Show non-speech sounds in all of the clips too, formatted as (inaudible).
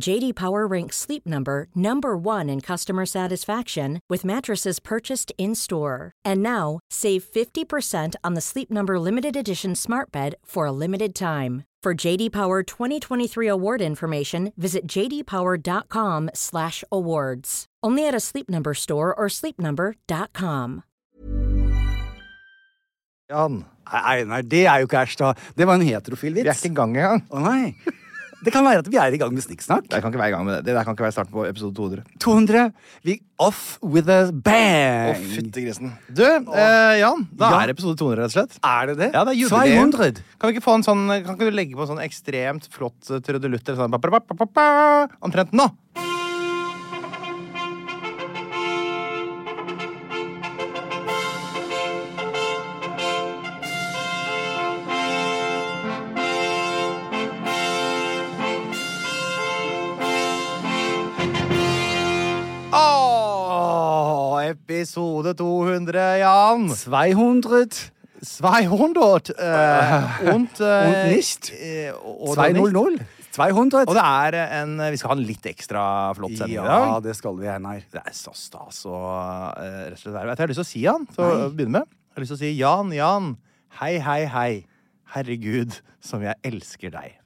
JD Power ranks Sleep Number number 1 in customer satisfaction with mattresses purchased in-store. And now, save 50% on the Sleep Number limited edition Smart Bed for a limited time. For JD Power 2023 award information, visit jdpower.com/awards. Only at a Sleep Number store or sleepnumber.com. Jan. Nei, Einar, det er jo ikke æsj, da. Det var en heterofil Vi er vits. ikke i gang engang. Å nei. Det kan være at vi er i gang med snikksnakk. Jeg kan ikke være i gang med det. Det der kan ikke være starten på episode 200. 200. Vi off with a Å, bang! fytti grisen. Du, eh, Jan. Da Ja. er det episode 200, rett og slett. er det det? Ja, det er jubileum. 200. Kan vi ikke få en sånn Kan ikke du legge på en sånn ekstremt flott eh, trudelutt eller sånn ba, ba, ba, ba, ba, Omtrent nå? Åh, Episode 200, Jan. 200. 200 (laughs) eh, und, eh, und nicht. eh, oder nicht. 200. 200. Og det er en Vi skal ha en litt ekstra flott sending i Ja, dag. det skal vi, Einar. Det er så stas å eh, rett og slett være med. Jeg har lyst til å si han til å begynne med. Jeg har lyst til å si Jan, Jan. Hei, hei, hei. Herregud, som jeg elsker deg.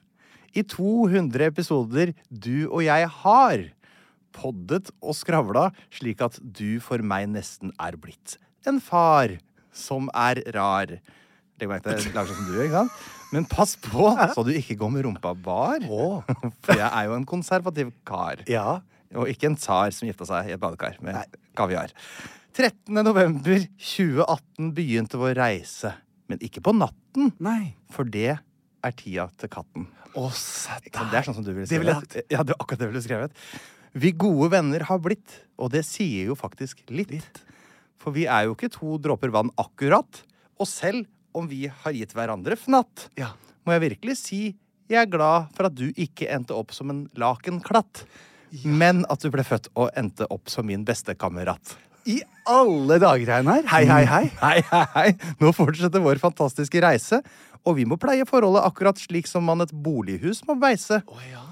I 200 episoder du og jeg har poddet og skravla slik at du for meg nesten er blitt en far som er rar. Legg merke til jeg lager sånn som du, ikke sant? Men pass på så du ikke går med rumpa bar. For jeg er jo en konservativ kar. Ja. Og ikke en tsar som gifta seg i et badekar med kaviar. 13. november 2018 begynte vår reise. Men ikke på natten, Nei. for det er tida til katten. Å, sett Ja, det er sånn som du ville Det ville jeg skrevet. ja, det var akkurat det ville du skrevet. Vi gode venner har blitt, og det sier jo faktisk litt. For vi er jo ikke to dråper vann akkurat. Og selv om vi har gitt hverandre fnatt, Ja. må jeg virkelig si jeg er glad for at du ikke endte opp som en lakenklatt. Men at du ble født og endte opp som min bestekamerat. I alle dager, Einar. Hei, hei, hei. Mm. Hei, hei, hei. Nå fortsetter vår fantastiske reise, og vi må pleie forholdet akkurat slik som man et bolighus må beise.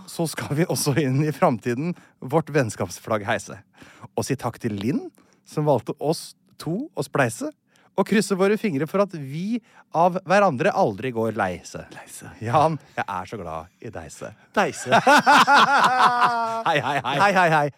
Så skal vi også inn i framtiden vårt vennskapsflagg heise. Og si takk til Linn, som valgte oss to å spleise, og krysse våre fingre for at vi av hverandre aldri går leise. Leise. Jan, jeg er så glad i deise. Deise. Hei, hei, hei. Hei, hei, hei.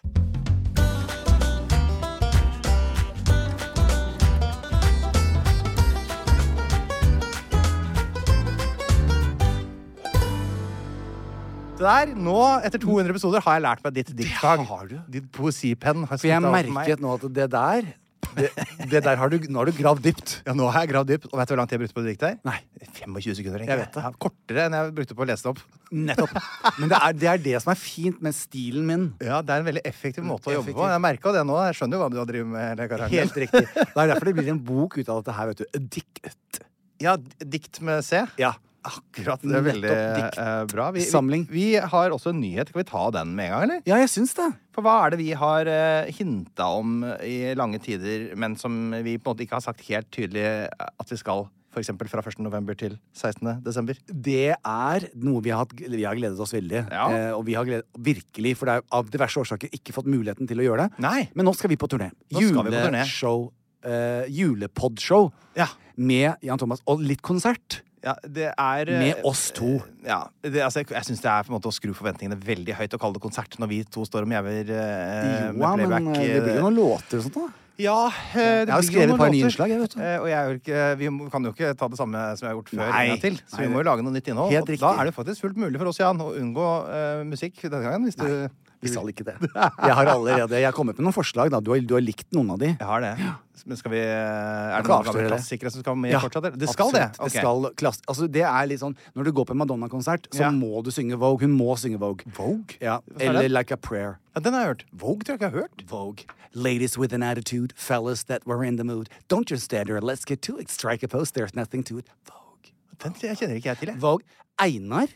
Der, nå, etter 200 episoder, har jeg lært meg ditt diktsang. har du. Ditt poesipenn har For jeg sluttet opp for meg. merket nå at det der det, det der har du, Nå har du gravd dypt. Ja, nå har jeg gravd dypt. Og vet du hvor lang tid jeg brukte på det diktet? her? Nei. 25 sekunder. tenker Jeg vet det. Ja, kortere enn jeg brukte på å lese det opp. Nettopp. Men det er, det er det som er fint med stilen min. Ja, Det er en veldig effektiv måte å jobbe på. Effektiv. Jeg merket det nå. Jeg skjønner jo hva du har drevet med. hele karrieren din. Helt riktig. Det er derfor det blir en bok ut av dette her, vet du. Dikt. (laughs) Ja, d- dikt med C. Ja. Akkurat. Det er Nettopp veldig dikt. eh, bra. Vi, vi, Samling. vi har også en nyhet. Skal vi ta den med en gang, eller? Ja, jeg syns det. For hva er det vi har uh, hinta om i lange tider, men som vi på en måte ikke har sagt helt tydelig eh, at vi skal F.eks. fra 1. november til 16. desember. Det er noe vi har, hatt, vi har gledet oss veldig. Ja. Eh, og vi har gledet, virkelig, for det er jo av diverse årsaker ikke fått muligheten til å gjøre det. Nei. Men nå skal vi på turné. Nå skal vi på turné. Juleshow. Eh, julepodshow Ja. med Jan Thomas. Og litt konsert. Ja, det er eh, Med oss to. Ja, det, altså, jeg jeg syns det er på en måte å skru forventningene veldig høyt å kalle det konsert når vi to står og mjauer eh, med Joa, men playback. eh, det blir jo eh, noen låter og sånt, (laughs) da. Ja, eh, det Jeg har blir jo skrevet et noen par nye låter. innslag, jeg, vet du. Eh, Og jeg er jo ikke, vi må- kan jo ikke ta det samme som jeg har gjort før Nei. en gang til. Så Nei, vi må jo lage noe nytt innhold. helt Og da riktig. er det faktisk fullt mulig for oss, Jan, å unngå eh, musikk denne gangen. Hvis du Vi skal ikke det. Jeg har allerede Jeg har kommet med noen forslag. da Du har, du har likt noen av de. Jeg har det. Men skal vi eh, Er Jeg kan det noen avsløre gamle det. klassikere som skal med Ja, fortsatt? eller? Det skal absolutt. det? Ok. Det skal klass... Altså, det er litt sånn Når du går på en Madonna-konsert, så Ja. må du synge Vogue. Hun må synge Vogue. Vogue? Ja. Hva er Eller det? Like a Prayer. Ja, den har jeg hørt. Vogue tror jeg ikke jeg har hørt. Vogue. Ladies with an attitude, fellas that were in the mood. Don't just stand there, let's get to it. Strike a pose, there's nothing to it. Vogue. Den kjenner ikke jeg til, jeg. Vogue. (laughs) Einar.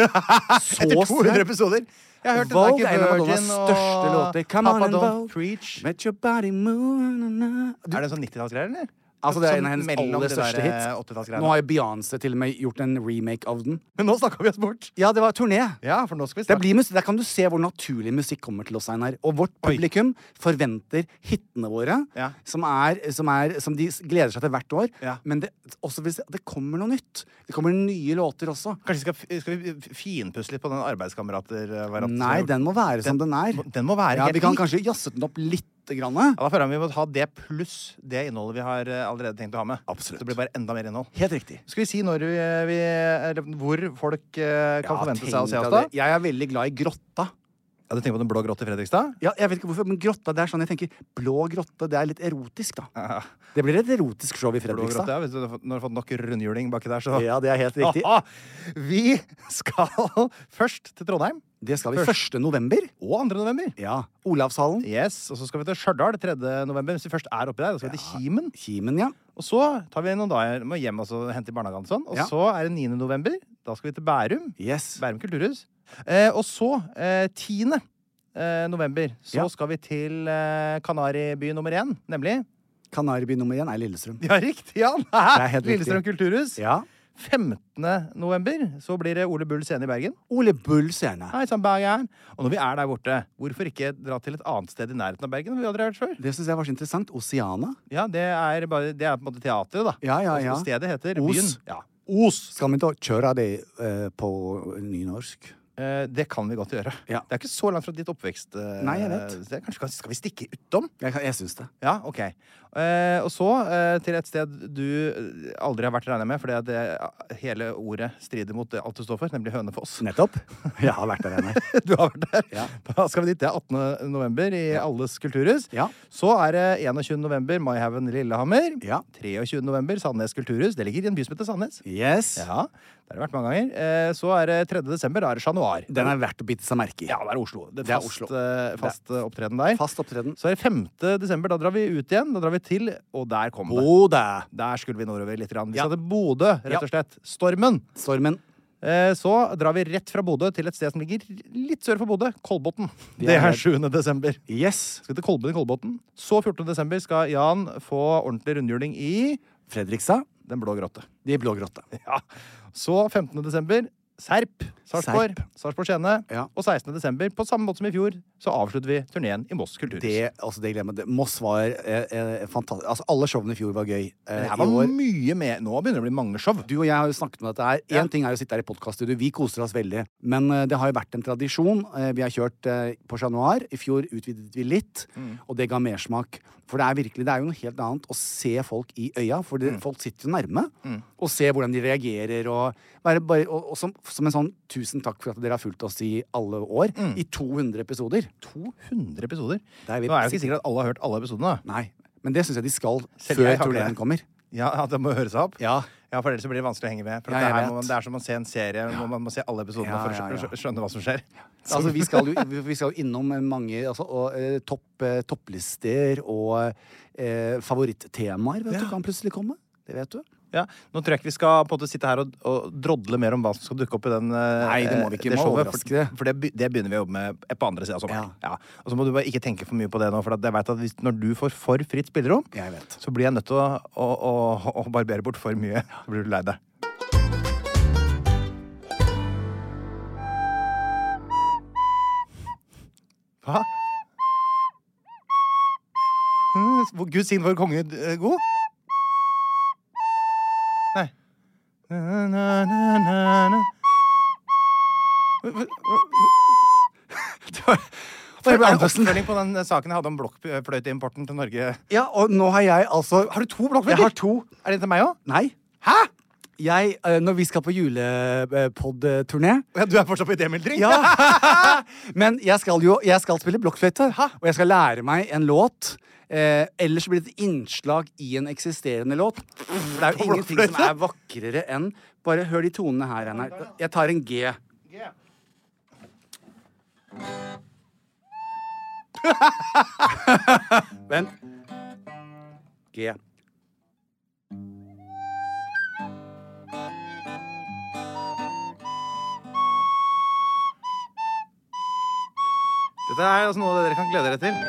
Så Etter 200 sterk. episoder! Jeg har hørt Vogue Like a er en av Virgin Madonnas største låter. Come on Papa and Don't Vogue. Preach. Let your body move na, na, na. Du, Er det sånn 90-tallsgreier, eller? altså, det er Sånn en av hennes mellom aller det største der, eh, hits. 80-tallsgreiene. Nå har jo Beyoncé til og med gjort en remake av den. Men nå snakka vi oss bort. Ja, det var turné. Ja, for nå skal vi Det snakke blir mus der kan du se hvor naturlig musikk kommer til oss, Einar. Og vårt Oi. publikum forventer hitene våre, Ja. som, er, som, er, som de s- gleder seg til hvert år. Ja. Men det, også hvis det kommer noe nytt. Det kommer nye låter også. Kanskje skal, f- skal vi f- finpusse litt på den eh, arbeidskamerater-varianten? Nei, den må være som den er. må- den må være ja, helt Vi kan lik. kanskje jazze den opp lite grann. Ja, da føler jeg vi må ha det pluss det innholdet vi har eh, allerede tenkt å ha med. Absolutt. Så det blir bare enda mer innhold. Helt riktig. Skal vi si når vi, eh, vi eller hvor folk eh, kan Ja, forvente seg tenk å se deg oss, da? det. Jeg er veldig glad i grotta. Ja, du tenker på den blå grått (laughs) i Fredrikstad? Ja, jeg vet ikke hvorfor, men grotta, det er sånn jeg tenker Blå grotte, det er litt erotisk, da. Ja, Det blir et erotisk show i (laughs) blå grått, Fredrikstad. ja. Hvis du har fått- når du har fått nok rundhjuling baki der, så Ja, det er helt riktig. (laughs) Aha! Vi skal (laughs) først til Trondheim. Det skal vi Først. 1. november. Og 2. november. Ja. Olavshallen. Yes, Og så skal vi til Stjørdal 3. november. Hvis vi først er oppi der, da skal vi til Kimen. Kimen, ja. Og så tar vi noen dager må hjem altså, hente i barnehagen. og Sånn. Og Ja. så er det 9. november. Da skal vi til Bærum. Yes. Bærum kulturhus. Eh, og så, eh, 10. eh, november, så Ja. skal vi til eh, Kanariby nummer én, nemlig. Kanariby nummer én er Lillestrøm. Ja, riktig, Jan! er helt riktig. Lillestrøm kulturhus. Ja. 15. november så blir det Ole Bull scene i Bergen. Ole Bull scene. Hei, sånn Bergen. Og når vi er der borte, hvorfor ikke dra til et annet sted i nærheten av Bergen? hvor Vi aldri har vært før? Det syns jeg var så interessant. Oceana. Ja, det er, bare, det er på en måte teatret, da. Ja, ja, Og ja. Stedet heter Os. Byen. Ja. Skal vi da kjøre det eh, på nynorsk? Eh, det kan vi godt gjøre. Ja. Det er ikke så langt fra ditt oppvekst. eh, Nei, jeg vet. sted. Kanskje, kanskje skal vi stikke utom? Jeg, kan- jeg syns det. Ja, ok. Eh, og så eh, til et sted du eh, aldri har vært regna med, fordi at det, eh, hele ordet strider mot det alt du står for, nemlig Hønefoss. Nettopp. Jeg har vært der, Einar. (laughs) Du har vært der. Ja. (laughs) Da skal vi dit. Det er 18. november i Alles kulturhus. Ja. Så er det 21. november Maihaugen Lillehammer. Ja. 23. november Sandnes kulturhus. Det ligger i en by som heter Sandnes. Yes. Ja, Der har det vært mange ganger. Eh, Så er det 3. desember. Da er det Chat Noir. Den er verdt å bite seg merke i. Ja, det er Oslo. Det er Det er fast, Oslo. eh, fast eh, opptreden der. Fast opptreden. Så er det 5. desember. Da drar vi ut igjen. Da drar vi til, og der kom det. Bodø. Der skulle vi nordover litt. Grann. Vi Ja. skal til Bodø, rett og slett. Stormen. Stormen. Eh, Så drar vi rett fra Bodø til et sted som ligger litt sør for Bodø. Kolbotn. Det Det er der. er 7. desember. Yes. Skal til Kolbotn i Kolbotn. Så 14. desember skal Jan få ordentlig rundhjuling i Fredrikstad. Den blå grotte. De blå grotte. (laughs) Ja. Så 15. desember Serp. Sarpsborg. Sarpsborg Skjene. Ja. Og 16. desember, på samme måte som i fjor, så avslutter vi turneen i Moss kulturhus. Det, altså, det glemmer jeg. Det- Moss var eh, eh, fantastisk. Altså, alle showene i fjor var gøy. Eh, Det i her var år mye mer Nå begynner det å bli mange show. Du og jeg har jo snakket om dette her. Én ting er å sitte her i podkaststudio, vi koser oss veldig. Men eh, det har jo vært en tradisjon. Eh, vi har kjørt eh, på Chat Noir. I fjor utvidet vi litt, Mm. og det ga mersmak. For det er virkelig, det er jo noe helt annet å se folk i øya, for Mm. det, folk sitter jo nærme. Og ser hvordan de reagerer, og, være bare, og, og som, som en sånn tusen takk for at dere har fulgt oss i alle år. Mm. I 200 episoder. 200 episoder. Det er vi- Nå er jo ikke sikkert at alle har hørt alle episodene. da. Nei. Men det syns jeg de skal Selv før jeg har ikke turneen det. kommer. Ja, (laughs) at det må høre seg opp. Ja. for ellers så blir det vanskelig å henge med. For Ja, det, jeg her vet. må, man- det er som å se en serie. Hvor man må se alle episodene Ja, for å ja, skjø- ja. skjø- skjønne hva som skjer. Altså, vi skal jo vi skal jo innom mange altså, og, eh, topp, eh, topplister og eh, favorittemaer. Vet du, kan plutselig komme. Det vet du. Ja. Nå tror jeg ikke vi skal på en måte sitte her og, og drodle mer om hva som skal dukke opp i den eh, Nei, det må vi ikke. eh, Må showet, overraske For, det. for det, be- det begynner vi å jobbe med på andre sida av sommeren. Ja. Og så må du bare ikke tenke for mye på det nå, for at jeg vet at hvis, når du får for fritt spillerom, Jeg vet. så blir jeg nødt til å, å, å, å barbere bort for mye. Så blir du lei deg. Hva? Mm, hvor Gud sign vår konge eh, god? Nei. Na, na, na, na, na. Det Er ble det Andersen. oppfølging på den saken jeg hadde om blokkfløyteimporten til Norge? Ja, og nå har jeg altså Har du to blokkfløyter? Jeg har to. Er det til meg òg? Nei. Hæ? Jeg, eh, når vi skal på julepod-turné Ja, du er fortsatt på idémyldring? Ja! (laughs) Men jeg skal jo jeg skal spille blokkfløyte, og jeg skal lære meg en låt. Eh, ellers blir det et innslag i en eksisterende låt. For det er jo ingenting som er vakrere enn Bare hør de tonene her, Einar. Jeg tar en G. (laughs) Vent. G. Dette er altså noe dere kan glede dere til.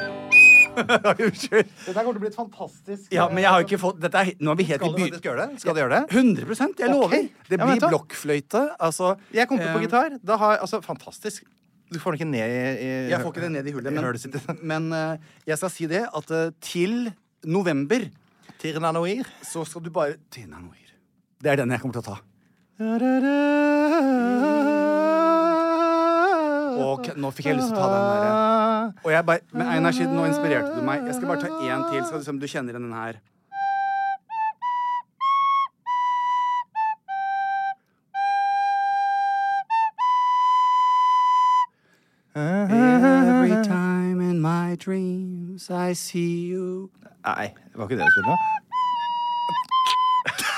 (laughs) Unnskyld. Dette kommer til å bli et fantastisk eh, Ja, men jeg har jo ikke fått dette er, he- Nå er vi helt Skal du i faktisk gjøre det? Skal du gjøre det? 100 Jeg Ok. lover. Det Ja, men blir vet du hva? blokkfløyte. Altså Jeg kom på på eh, gitar. Da har, altså, fantastisk. Du får den ikke ned i, i Jeg får ikke det ned i hullet, hølet sitt. men, (laughs) men eh, jeg skal si det at eh, til november Tirnanoir. så skal du bare Til Nanoir. Det er den jeg kommer til å ta. Og nå fikk jeg lyst til å ta den der. eh, Og jeg bare, men Einar, siden nå inspirerte du meg. Jeg skal bare ta én til, så skal du se om du kjenner igjen den her. Every time in my dreams I see you Nei, det var ikke det du spilte nå.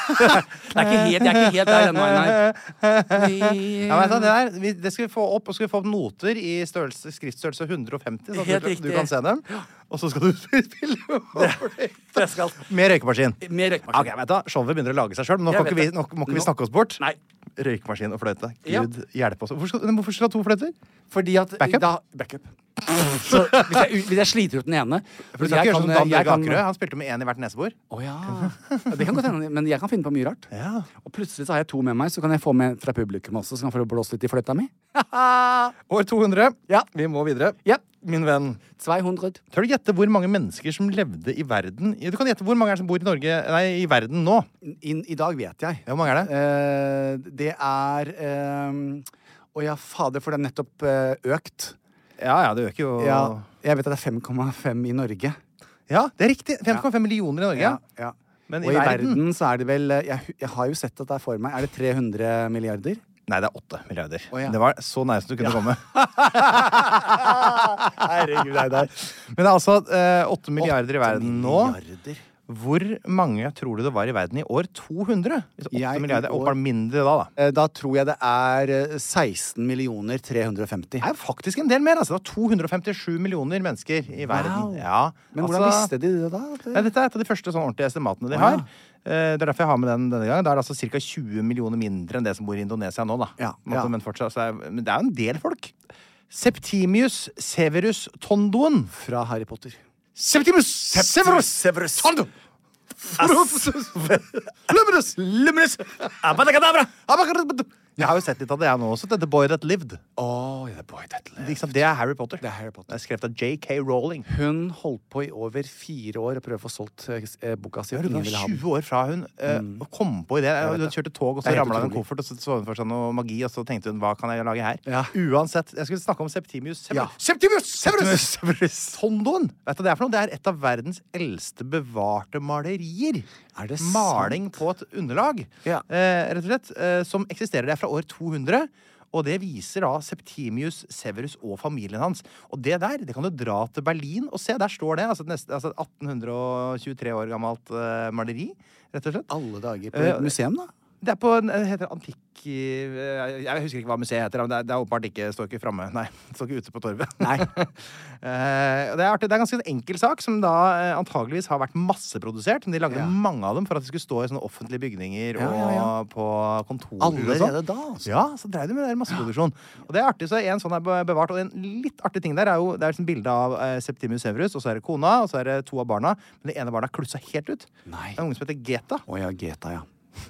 Det er ikke helt, jeg er ikke helt der ennå, Einar. (laughs) Ja, men vet du, det, Mm. der, vi, det skal vi få opp, og så skal vi få opp noter i størrelse, skriftstørrelse 150. Sånn Helt at du, du riktig. kan se dem. Og så skal du (laughs) spille over det. Jeg skal Med røykemaskin. Med røykemaskin. Ok, vet du, hva, Showet begynner å lage seg sjøl, men nå, Jeg kan ikke vi, vet nå det. må ikke vi Nå- snakke oss bort. Nei. Røykemaskin og fløyte. Ja. Gud hjelpe oss. Hvorfor skal, men hvorfor skal du ha to fløyter? Fordi at Backup? Da, backup. (laughs) Så hvis jeg, hvis jeg sliter ut den ene For du skal ikke gjøre som Dan jeg Børge kan- Akerø. Han spilte med én i hvert nesebor. Å ja. Det kan godt hende, men jeg kan finne på mye rart. Ja. Og plutselig så har jeg to med meg, så kan jeg få med fra publikum også. Så kan jeg få blåst litt i fløyta mi. År 200. Ja. Vi må videre. Ja. Min venn. 200. Tør du gjette hvor mange mennesker som levde i verden Du kan gjette hvor mange er det som bor i Norge Nei, i verden nå. Inn I dag vet jeg. Ja, Hvor mange er det? Eh, det er eh, Å ja, fader, for det er nettopp eh, økt. Ja, ja, det øker jo Ja, jeg vet at det er 5,5 i Norge. Ja, det er riktig. 5,5 millioner i Norge. ja. Men Og i verden, så er det vel eh, jeg, jeg har jo sett at det er for meg. Er det 300 (laughs) milliarder? Nei, det er 8 milliarder. Å, ja. Det var så nær som du kunne komme. (laughs) Herregud, Einar. (laughs) Men det er altså eh, 8 milliarder i verden nå. Milliarder. Hvor mange tror du det var i verden i år 200? Hvis 8 Jeg i milliarder år- og bare mindre da, da. Eh, Da tror jeg det er eh, 16 millioner 350. Det er faktisk en del mer. altså. Det var 257 millioner mennesker i verden. Ja, Men hvordan altså- visste de det da? Nei, dette er et av de første sånn ordentlige estimatene Å, de ja. har. Eh, Det er derfor jeg har med den denne gangen. Da er det altså ca. 20 millioner mindre enn det som bor i Indonesia nå. da. Ja, På en måte, ja. Men, fortsatt, så er, men det er jo en del folk. Septimius Severus Tondoen. Fra Harry Potter. Septimus Severus Severus. Tondo! Luminous! Luminous! Abacadabra! Abacadabra! Jeg har jo sett litt av det, jeg nå også. The Boy That Lived. Oh, yeah, boy, that Ikke sant? Det er Harry Potter. Det er Harry Potter. Det er skrevet av J.K. Rowling. Hun holdt på i over fire år å prøve å få solgt eh, boka si. og Hun Ingen var ville ha den. Mm. 20 år fra hun eh, kom på ideen. vet Hun det. kjørte tog, og Det så er helt ramla hun en utrolig. koffert, og så så hun for seg noe magi, og så tenkte hun hva kan jeg lage her? Ja. Uansett, jeg skulle snakke om Septimius Severus. Ja. Septimius Severus! Tondoen! Vet du hva det er for noe? Det er et av verdens eldste bevarte malerier. Er det Maling på et underlag, Ja. eh, rett og slett, eh, som eksisterer der fra år 200. Og det viser da Septimius Severus og familien hans. Og det der det kan du dra til Berlin og se. Der står det. Altså, et nest- altså et 1823 år gammelt eh, maleri, rett og slett. Alle dager på Eh, museum, da? Det er på en- det heter antikk... eh, Jeg husker ikke hva museet heter, men det er, det er åpenbart ikke, står ikke framme. Nei, (laughs) det står ikke ute på torvet. (laughs) Nei. det er artig. Det er ganske en enkel sak, som da eh, antageligvis har vært masseprodusert. Men de lagde Ja. mange av dem for at de skulle stå i sånne offentlige bygninger Ja, ja, ja. og på kontorer. Allerede og sånn. da, altså. Ja, så dreiv de med den masseproduksjon. Og det er artig, så en sånn er be- bevart. Og en litt artig ting der er jo det er liksom bilde av eh, Septimus Severus, og så er det kona, og så er det to av barna. Men det ene barna er klussa helt ut. Nei. Det er en unge som heter Geta. Å ja, Geta, ja.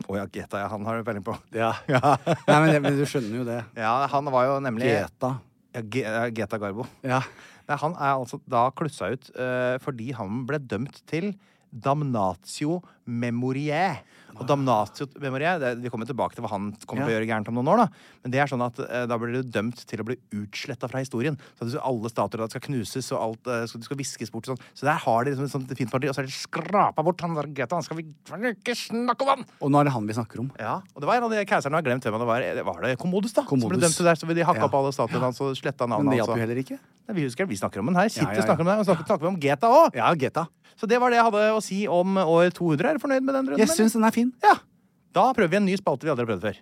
Å ja, Geta, ja. Han har du peiling på. (laughs) Ja. Ja. Nei, men, det, men du skjønner jo det. ja, han var jo nemlig Geta. Ja, Ge- ja, Geta Garbo. Ja. Nei, han er altså da klussa ut eh, fordi han ble dømt til damnatio memoriae. Og damnatio memoriae, det, vi kommer tilbake til hva han kommer til å Ja. gjøre gærent om noen år, da. Men det er sånn at eh, da blir du dømt til å bli utsletta fra historien. Så at alle statuer da skal knuses, og alt eh, skal, skal viskes bort og sånn. Så der har de liksom et sånt fint parti, og så er det skrapa bort han der Geta. Han skal vi ikke snakke om han! Og nå er det han vi snakker om. Ja, og det var en av de keiserne jeg har glemt hvem det var. Det Var det Commodus, da? Som ble Commodus. dømt til der, så de hakka Ja. opp alle statuene hans og sletta Men navnet det hans. hjalp jo og- heller ikke. Nei, Vi husker det, vi snakker om den her. Sitter ja, ja. og snakker om den, og snakker, snakker vi om Geta òg. Ja, Geta. Så det var det jeg hadde å si om år 200. Er du fornøyd med den runden? Jeg eller? syns den er fin. Ja. Da prøver vi en ny spalte vi aldri har prøvd før.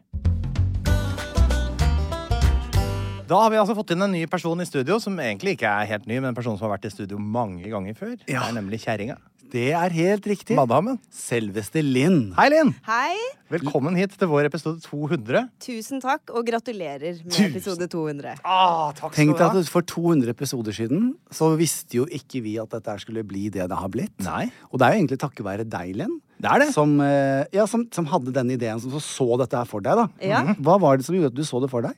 Da har vi altså fått inn en ny person i studio, som egentlig ikke er helt ny, men en person som har vært i studio mange ganger før. Ja. Det er nemlig kjerringa. Det er helt riktig. Madammen. Selveste Linn. Hei, Linn! Hei. Velkommen hit til vår episode 200. Tusen takk, og gratulerer med Tusen- episode 200. Ah, takk Tenk deg at for 200 episoder siden så visste jo ikke vi at dette her skulle bli det det har blitt. Nei. Og det er jo egentlig takket være deg, Len. Det er det. Som, eh, ja, som, som hadde den ideen, som så, så dette her for deg, da. Mhm. Ja. Hva var det som gjorde at du så det for deg?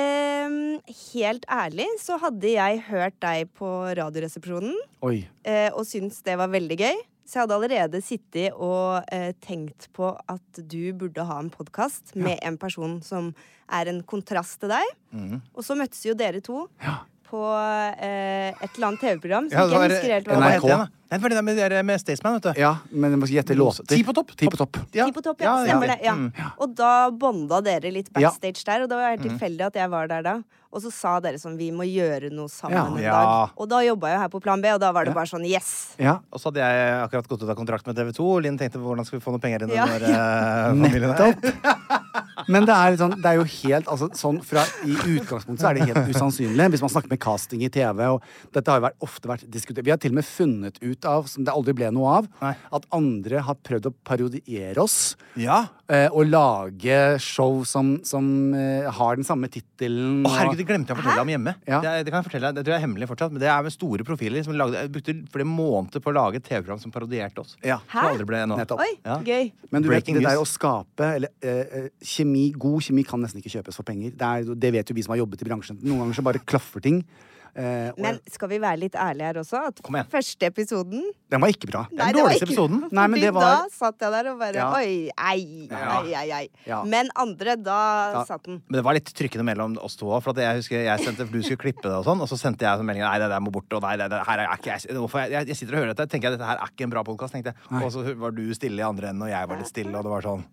Ehm, helt ærlig så hadde jeg hørt deg på Radioresepsjonen Oi. eh, og syntes det var veldig gøy. Så jeg hadde allerede sittet og eh, tenkt på at du burde ha en podkast med en person som er en kontrast til deg. Mhm. Og så møttes jo dere to på eh, et eller annet TV-program som Ja, ikke det var jeg husker helt hva Hva var. het det, da? Nei, det var det der med, det der med Staysman, vet du. Ja, men jeg må gjette låter. Ti på topp. Ti på topp. Ja. Ti på topp, ja. Stemmer det. Ja. Og da bonda dere litt backstage der, og det var helt tilfeldig at jeg var der da. Og så sa dere sånn vi må gjøre noe sammen Ja. en Ja. dag. Og da jobba jeg her på Plan B, og da var det bare sånn yes! Ja. Og så hadde jeg akkurat gått ut av kontrakt med TV 2. og Linn tenkte hvordan skal vi få noen penger inn i Ja. den der, eh, familien her. Nettopp. Men det er, litt sånn, det er jo helt altså, sånn fra, I utgangspunktet så er det helt usannsynlig. Hvis man snakker med casting i TV og Dette har jo vært, ofte vært diskutert. Vi har til og med funnet ut av, som det aldri ble noe av, Nei. at andre har prøvd å parodiere oss. Ja. eh, Og lage show som, som eh, har den samme tittelen. Å, herregud, det glemte jeg å fortelle deg om hjemme. Ja. Det, er- det kan jeg fortelle deg, det tror jeg er hemmelig fortsatt, men det er med store profiler som lagde, jeg brukte flere måneder på å lage et TV-program som parodierte oss. Ja. Som aldri ble noe. Nettopp. Oi, Ja. gøy. Men du vet, Breaking det der å news. skape eller, eh, eh, kjemi, God kjemi kan nesten ikke kjøpes for penger. Det, er, det vet jo vi som har jobbet i bransjen. Noen ganger så bare klaffer ting. eh, og- Men skal vi være litt ærlige her også? At Kom igjen. første episoden Den var ikke bra. Den Nei, det var dårligste ikke- episoden. Nei, men fordi det var- Da satt jeg der og bare Ja. Oi, ei, ei, ei, ei. Ja. Men andre, da Ja. satt den. Men det var litt trykkende mellom oss to òg. For at jeg husker jeg sendte, for du skulle klippe det, og sånn Og så sendte jeg sånn melding Nei, det der må bort. Og nei, det, det her er ikke jeg, nå får jeg, jeg, jeg sitter og hører dette, tenker jeg dette her er ikke en bra podkast. Og så var du stille i andre enden, og jeg var litt stille, og det var sånn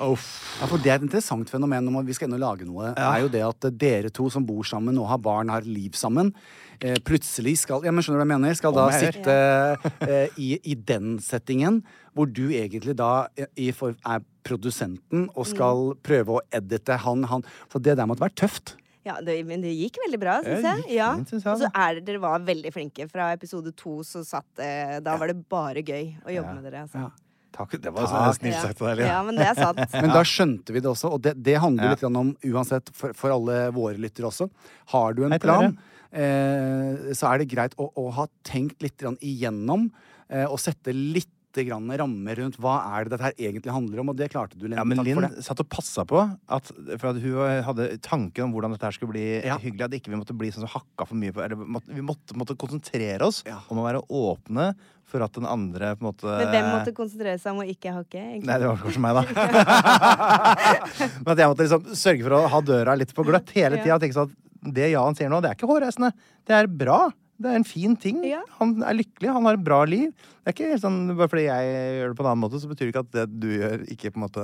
Uff. Ja, for Det er et interessant fenomen når man- vi skal inn og lage noe. Det er jo det at dere to som bor sammen og har barn, har liv sammen, eh, plutselig skal ja, men skjønner du hva jeg mener, skal da Om jeg sitte eh, i, i den settingen hvor du egentlig da eh, i for, er produsenten og skal Mm. prøve å edite han, han Så det der måtte være tøft. Ja, det, men det gikk veldig Ja, bra, det syns jeg. gikk Ja. fint, synes jeg, Og så altså. er, dere var veldig flinke. Fra episode to så satt eh, Da var det bare gøy å jobbe med dere. Altså. Takk. Det var så snilt sagt av deg, Linn. ja, men det (laughs) er sant. Men da skjønte vi det også, og det, det handler Ja. litt grann om, uansett, for, for alle våre lyttere også, har du en Hei til plan, eh, så er det greit å, å ha tenkt litt grann igjennom eh, og sette litt grann rammer rundt hva er det dette her egentlig handler om, og det klarte du, Linn. Ja, men Takk Linn for det. satt og passa på at, for at hun hadde tanken om hvordan dette her skulle bli Ja. hyggelig. At ikke vi måtte bli sånn som hakka for mye på eller, måtte, Vi måtte, måtte konsentrere oss Ja. om å være åpne for at den andre på en måte Men hvem måtte konsentrere seg om å ikke hakke? egentlig? Nei, det var kanskje meg, da. (laughs) Men at jeg måtte liksom sørge for å ha døra litt på gløtt hele tida. Ja. og tenke sånn at Det Jan sier nå, det er ikke hårreisende. Det er bra. Det er en fin ting. Ja. Han er lykkelig, han har et bra liv. Det er ikke helt sånn, Bare fordi jeg gjør det på en annen måte, så betyr det ikke at det du gjør, ikke på en måte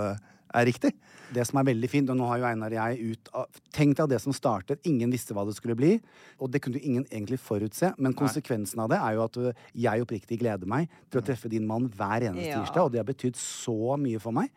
er riktig. Det som er veldig fint, og nå har jo Einar og jeg ut av Tenk deg det som startet, ingen visste hva det skulle bli, og det kunne jo ingen egentlig forutse, men konsekvensen av det er jo at ø, jeg oppriktig gleder meg til å treffe din mann hver eneste Ja. tirsdag, og det har betydd så mye for meg.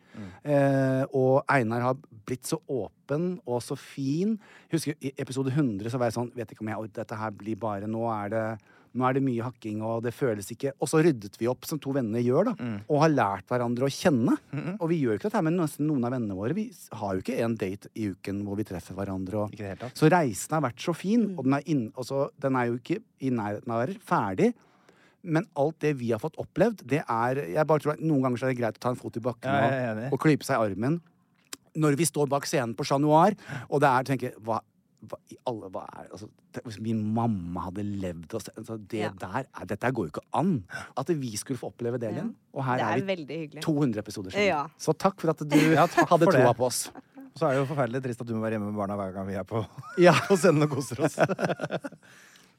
Eh, og Einar har blitt så åpen og så fin. Husker i episode 100 så var jeg sånn Vet ikke om jeg orker dette her blir bare Nå er det nå er det mye hakking, og det føles ikke Og så ryddet vi opp, som to venner gjør, da. Mm. Og har lært hverandre å kjenne. Og vi gjør jo ikke dette her med nesten noen av vennene våre. Vi s- har jo ikke en date i uken hvor vi treffer hverandre. Og, Ikke i det hele tatt. så reisen har vært så fin, og den er, inn, og så, den er jo ikke i nærheten av å være ferdig. Men alt det vi har fått opplevd, det er Jeg bare tror at Noen ganger så er det greit å ta en fot i bakken Ja, jeg er enig. og, og klype seg i armen. Når vi står bak scenen på Chat Noir, og det er tenker, jeg, hva, hva, i alle, hva er det? altså, det- Hvis min mamma hadde levd og sett altså, det Ja. der, er, Dette går jo ikke an. At vi skulle få oppleve det igjen. Og her Det er, er vi veldig hyggelig. 200 episoder siden. Ja. Så takk for at du takk hadde for det. troa på oss. Og så er det jo forferdelig trist at du må være hjemme med barna hver gang vi er på Ja. (laughs) på scenen og koser oss. (laughs)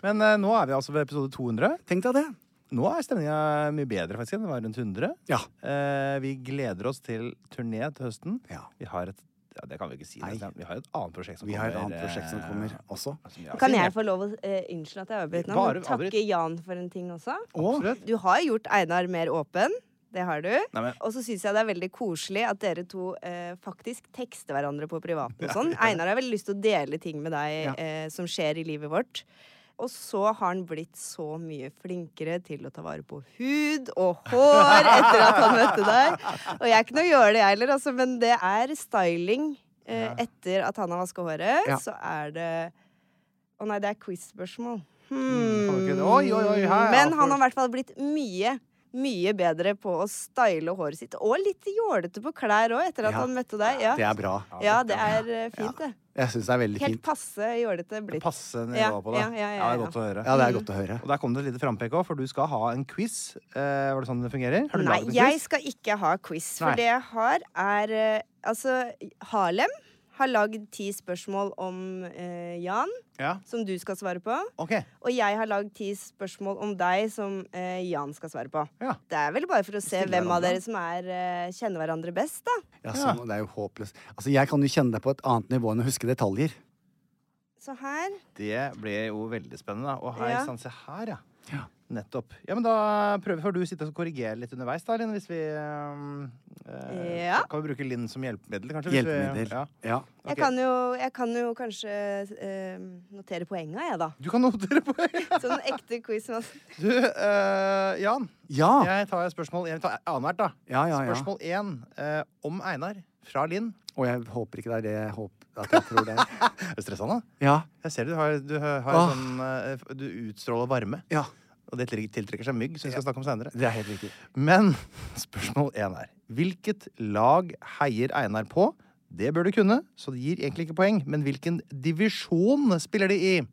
Men eh, nå er vi altså ved episode 200. Tenk deg det. Nå er stemninga mye bedre faktisk enn den var rundt 100. Ja. Eh, vi gleder oss til turné til høsten. Ja. Vi har et ja, Det kan vi ikke si. Nei. nesten. Vi har et annet prosjekt som Vi har kommer. et annet prosjekt som eh, kommer også. som vi har Kan jeg signert. få lov å eh, Unnskyld at jeg avbryter nå. Bare men Takke avbryt. Jan for en ting også. Absolutt. Du har gjort Einar mer åpen. Det har du. Nei, men- Og så syns jeg det er veldig koselig at dere to eh, faktisk tekster hverandre på privaten og sånn. Einar har veldig lyst til å dele ting med deg Ja. eh, som skjer i livet vårt. Og så har han blitt så mye flinkere til å ta vare på hud og hår etter at han møtte deg. Og jeg er ikke noe gjøre det, jeg heller, altså, men det er styling. Eh, etter at han har vaska håret, Ja. så er det Å nei, det er quiz-spørsmål. Mm, kan du ikke Hmm. det? Oi, oi, oi, her, Men ja, for- han har i hvert fall blitt mye, mye bedre på å style håret sitt. Og litt jålete på klær òg, etter at Ja. han møtte deg. Ja, Det er bra. ja det er eh, fint, det. Jeg syns det er veldig Helt fint. passe jålete blitt. Passe nivå Ja, på det. ja, ja, ja, det er ja. godt å høre. Ja, det er godt å høre. Og der kom det et lite frampek òg, for du skal ha en quiz. Eh, var det sånn det fungerer? Har du Nei, laget en jeg quiz? skal ikke ha quiz. For Nei. det jeg har, er eh, Altså, Harlem har lagd ti spørsmål om eh, Jan, Ja. som du skal svare på. Ok. Og jeg har lagd ti spørsmål om deg som eh, Jan skal svare på. Ja. Det er vel bare for å se Stille hvem av hverandre. dere som er, eh, kjenner hverandre best, da. Ja, sånn, det er jo håpløst. Altså, jeg kan jo kjenne deg på et annet nivå enn å huske detaljer. Så her Det ble jo veldig spennende. da. Og her, Ja. ikke sant, se her, ja. Nettopp. Ja, men da prøver får du sitte og korrigere litt underveis, da, Linn, hvis vi eh, Ja. Kan vi bruke Linn som hjelpemiddel, kanskje? hvis vi- Hjelpemiddel. ja. Ja. Jeg, Ok. kan jo, jeg kan jo kanskje eh, notere poenga, jeg, da. Du kan notere på (laughs) Sånn ekte quizmaster. Du, eh, Jan. Ja. Jeg tar spørsmål Jeg tar annethvert, da. Ah. Ja, ja, ja. Spørsmål én eh, om Einar fra Linn. Og jeg håper ikke det er det jeg håper at jeg tror det er. Er du stressende? (laughs) Ja. Jeg ser du har, du har Åh. sånn eh, Du utstråler varme. Ja. Og det tiltrekker- tiltrekker seg mygg, som vi skal snakke om senere. Det er helt riktig. Men (laughs) spørsmål én er Hvilket lag heier Einar på? Det bør du kunne, så det gir egentlig ikke poeng. Men hvilken divisjon spiller de i?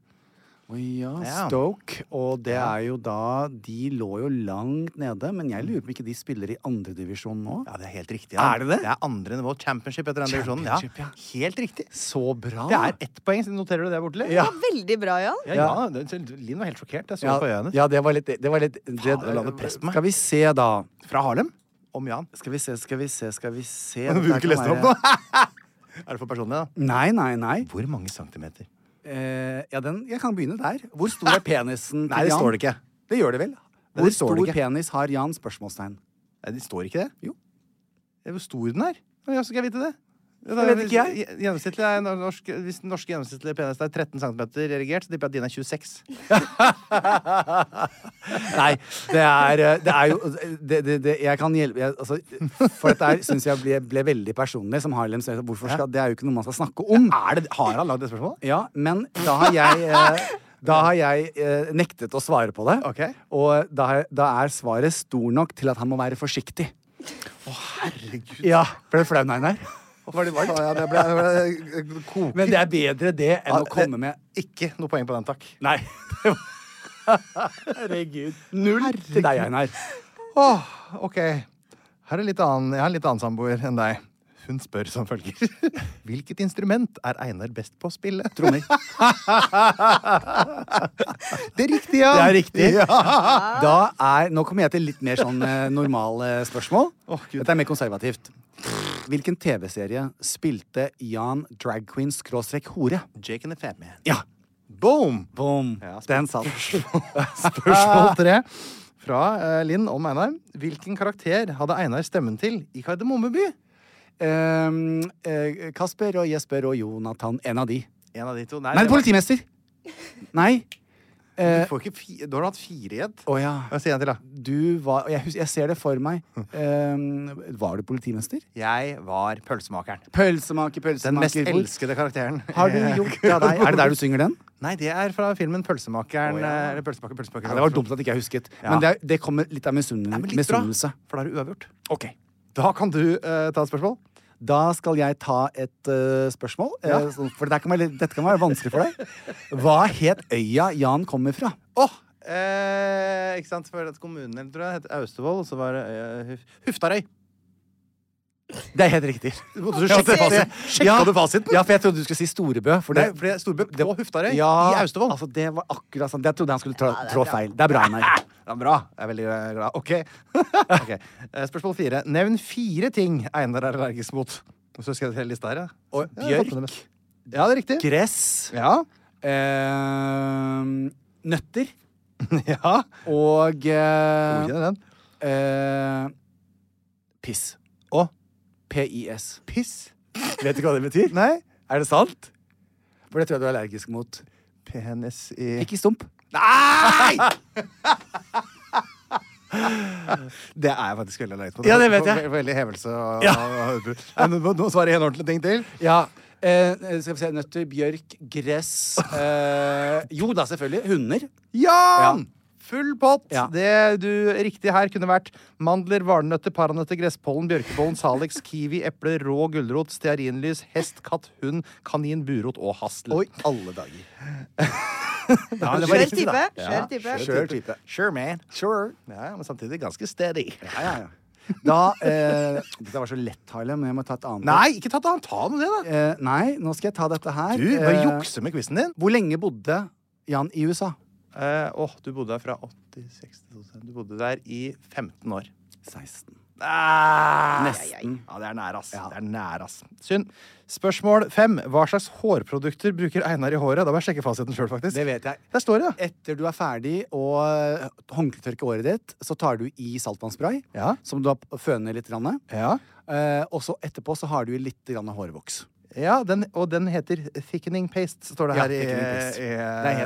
Å ja, Ja. Stoke. Og det er jo da De lå jo langt nede, men jeg lurer på om ikke de spiller i andredivisjon nå? Ja, det er helt riktig. Er det det? Det er andre nivå. Championship etter den divisjonen. Ja. Championship, ja. Helt riktig. Så bra! Det er ett poeng, så noterer du det borte? Ja. Veldig bra, Jan. Ja, ja. det- Linn var helt sjokkert. Jeg så ja, det på øynene. ja, det var litt, det var litt det, Faen, det la det press på meg. Skal vi se, da. Fra Harlem. Om Jan. Skal vi se, skal vi se, skal vi se. Du Dette vil ikke kan lese det opp være- nå? (laughs) er det for personlig, da? sånn Nei, nei, nei. Hvor mange centimeter? Eh, ja, den, jeg kan begynne der. Hvor stor er (laughs) penisen til Jan? Nei, det står det ikke. Det gjør det vel. det Hvor står stor det ikke. penis har Jan? Spørsmålstegn. Nei, det står ikke det? Jo. Det er Hvor stor den er? Ja, så skal jeg vite det. Ja, Det vet ikke jeg. hvis- Gjennomsnittlig er norsk, hvis den norske gjennomsnittlige penis er 13 cm erigert, så tipper jeg at din er 26. Nei, det er, eh, det er jo det, det, det, Jeg kan hjelpe jeg, altså, For dette her syns jeg ble, ble veldig personlig, som Harlem sier. Hvorfor skal, Det er jo ikke noe man skal snakke om. Er det, har han lagd det spørsmålet? Ja, men da har jeg eh, Da har jeg eh, nektet å svare på det. Ok. Og da, har- da er svaret stor nok til at han må være forsiktig. Herregud. Ja, Ble du flau, Einar? Var det varmt? Ja, det ble, det ble koker. Men det er bedre det enn Ah, å komme med Ikke noe poeng på den, takk. Nei. (laughs) Herregud. Null til deg, Einar. Åh, ok. Her er litt annen, jeg har en litt annen samboer enn deg. Hun spør som følger. (laughs) Hvilket instrument er Einar best på å spille? Trommer. (laughs) Det er riktig, ja! Det er riktig. Ja. Da er, nå kommer jeg til litt mer sånn eh, normale spørsmål. Åh, Gud. Dette er mer konservativt. Hvilken TV-serie spilte Jan drag queen skråstrek hore? Jake and the Fat Man. Ja! Boom! Boom! Ja, spør- Den satt. (laughs) Spørsmål tre (laughs) fra eh, Linn om Einar. Hvilken karakter hadde Einar stemmen til i Kardemommeby? Ehm, eh, Kasper og Jesper og Jonathan. En av de. En av de to. Nei, Nei, det var- politimester! Nei. Du får ikke fi... Du har hatt fire i ett. Å ja. Hva sier jeg til, da? Du var jeg, hus- jeg ser det for meg. Ehm, var du politimester? Jeg var pølsemakeren. Pølsemaker, Den mest pølsemaker. hvor- elskede karakteren. Har (laughs) du Eh. gjort av deg Er det der (laughs) du synger den? Nei, det er fra filmen Pølsemakeren. eh, Eller Pølsemaker, pølsemaker. Ja, det var dumt at ikke jeg husket. Ja. Men det, er- det kommer litt av misunn- Nei, men litt bra, misunnelse. for da er det uavgjort. Ok. Da kan du eh, ta et spørsmål. Da skal jeg ta et eh, spørsmål. eh, Ja. sånn- for det her kan være, litt- dette kan være vanskelig for deg. Hva het øya Jan kommer fra? Åh! eh, ikke sant? For at kommunen eller, tror jeg, het Austevoll, og så var det eh, Huf- Huftarøy. Det er helt riktig. du sjekke fasiten? Sjekka Ja. du fasiten? Ja, for jeg trodde du skulle si Storebø. For Nei, det, for det er Storbø på Huftarøy i ja, Austevoll. Altså, det var akkurat sånn. Jeg trodde han skulle trå, trå feil. Det er bra, Einar. Det er bra. Jeg er veldig eh, glad. OK. (laughs) Ok. Eh, Spørsmål fire. Nevn fire ting Einar er allergisk mot. Og så skal jeg til lista her, ja. Og Ja, jeg har fått bjørk, med meg. Ja, det er riktig. gress, Ja. (laughs) eh, nøtter ja. og Hvor eh, kjenner den? eh, piss. Å. PIS. Piss. Vet du hva det betyr? Nei. Er det sant? For det tror jeg du er allergisk mot. Penis i Pikk i stump. Nei! Det er jeg faktisk veldig allergisk mot. (laughs) Ja, det vet jeg. Ve- Veldig hevelse og, Ja. og utbrudd. Nei, men Nå svarer jeg en ordentlig ting til. Ja. Eh, skal vi se. Nøtter, bjørk, gress eh, Jo da, selvfølgelig. Hunder. Jan! Full pott. Ja. Det du riktig her kunne vært mandler, valnøtter, paranøtter, gresspollen, bjørkepollen, salix, kiwi, eple, rå gulrot, stearinlys, hest, katt, hund, kanin, burot og hastel. Oi, alle dager. Ja, det var Skjør riktig, type. da. Skjør type. Skjør type. Sure, man. Sure. Ja, men samtidig ganske steady. Ja, ja, ja. Da eh, Dette var så lett, Harlem, men jeg må ta et annet. Nei, ikke ta det annet. Ta med det, da. Eh, nei, nå skal jeg ta dette her. Du bør Eh, jukse med quizen din. Hvor lenge bodde Jan i USA? Eh, åh, du bodde der fra 80, 60, 2000. Du bodde der i 15 år. 16. Ah, Nesten. Ja, det er nær, ass. Ja. Det er nær, ass. Synd. Spørsmål fem. Hva slags hårprodukter bruker Einar i håret? Da må jeg sjekke fasiten sjøl, faktisk. Det vet jeg. Der står det, ja. Etter du er ferdig og eh, håndkletørker håret ditt, så tar du i saltvannsspray, Ja. som du har p- føner litt. Grann. Ja. Eh, og så etterpå så har du litt grann hårvoks. Ja, den, og den heter thickening paste, står det Ja, her i, thickening paste. i, Det er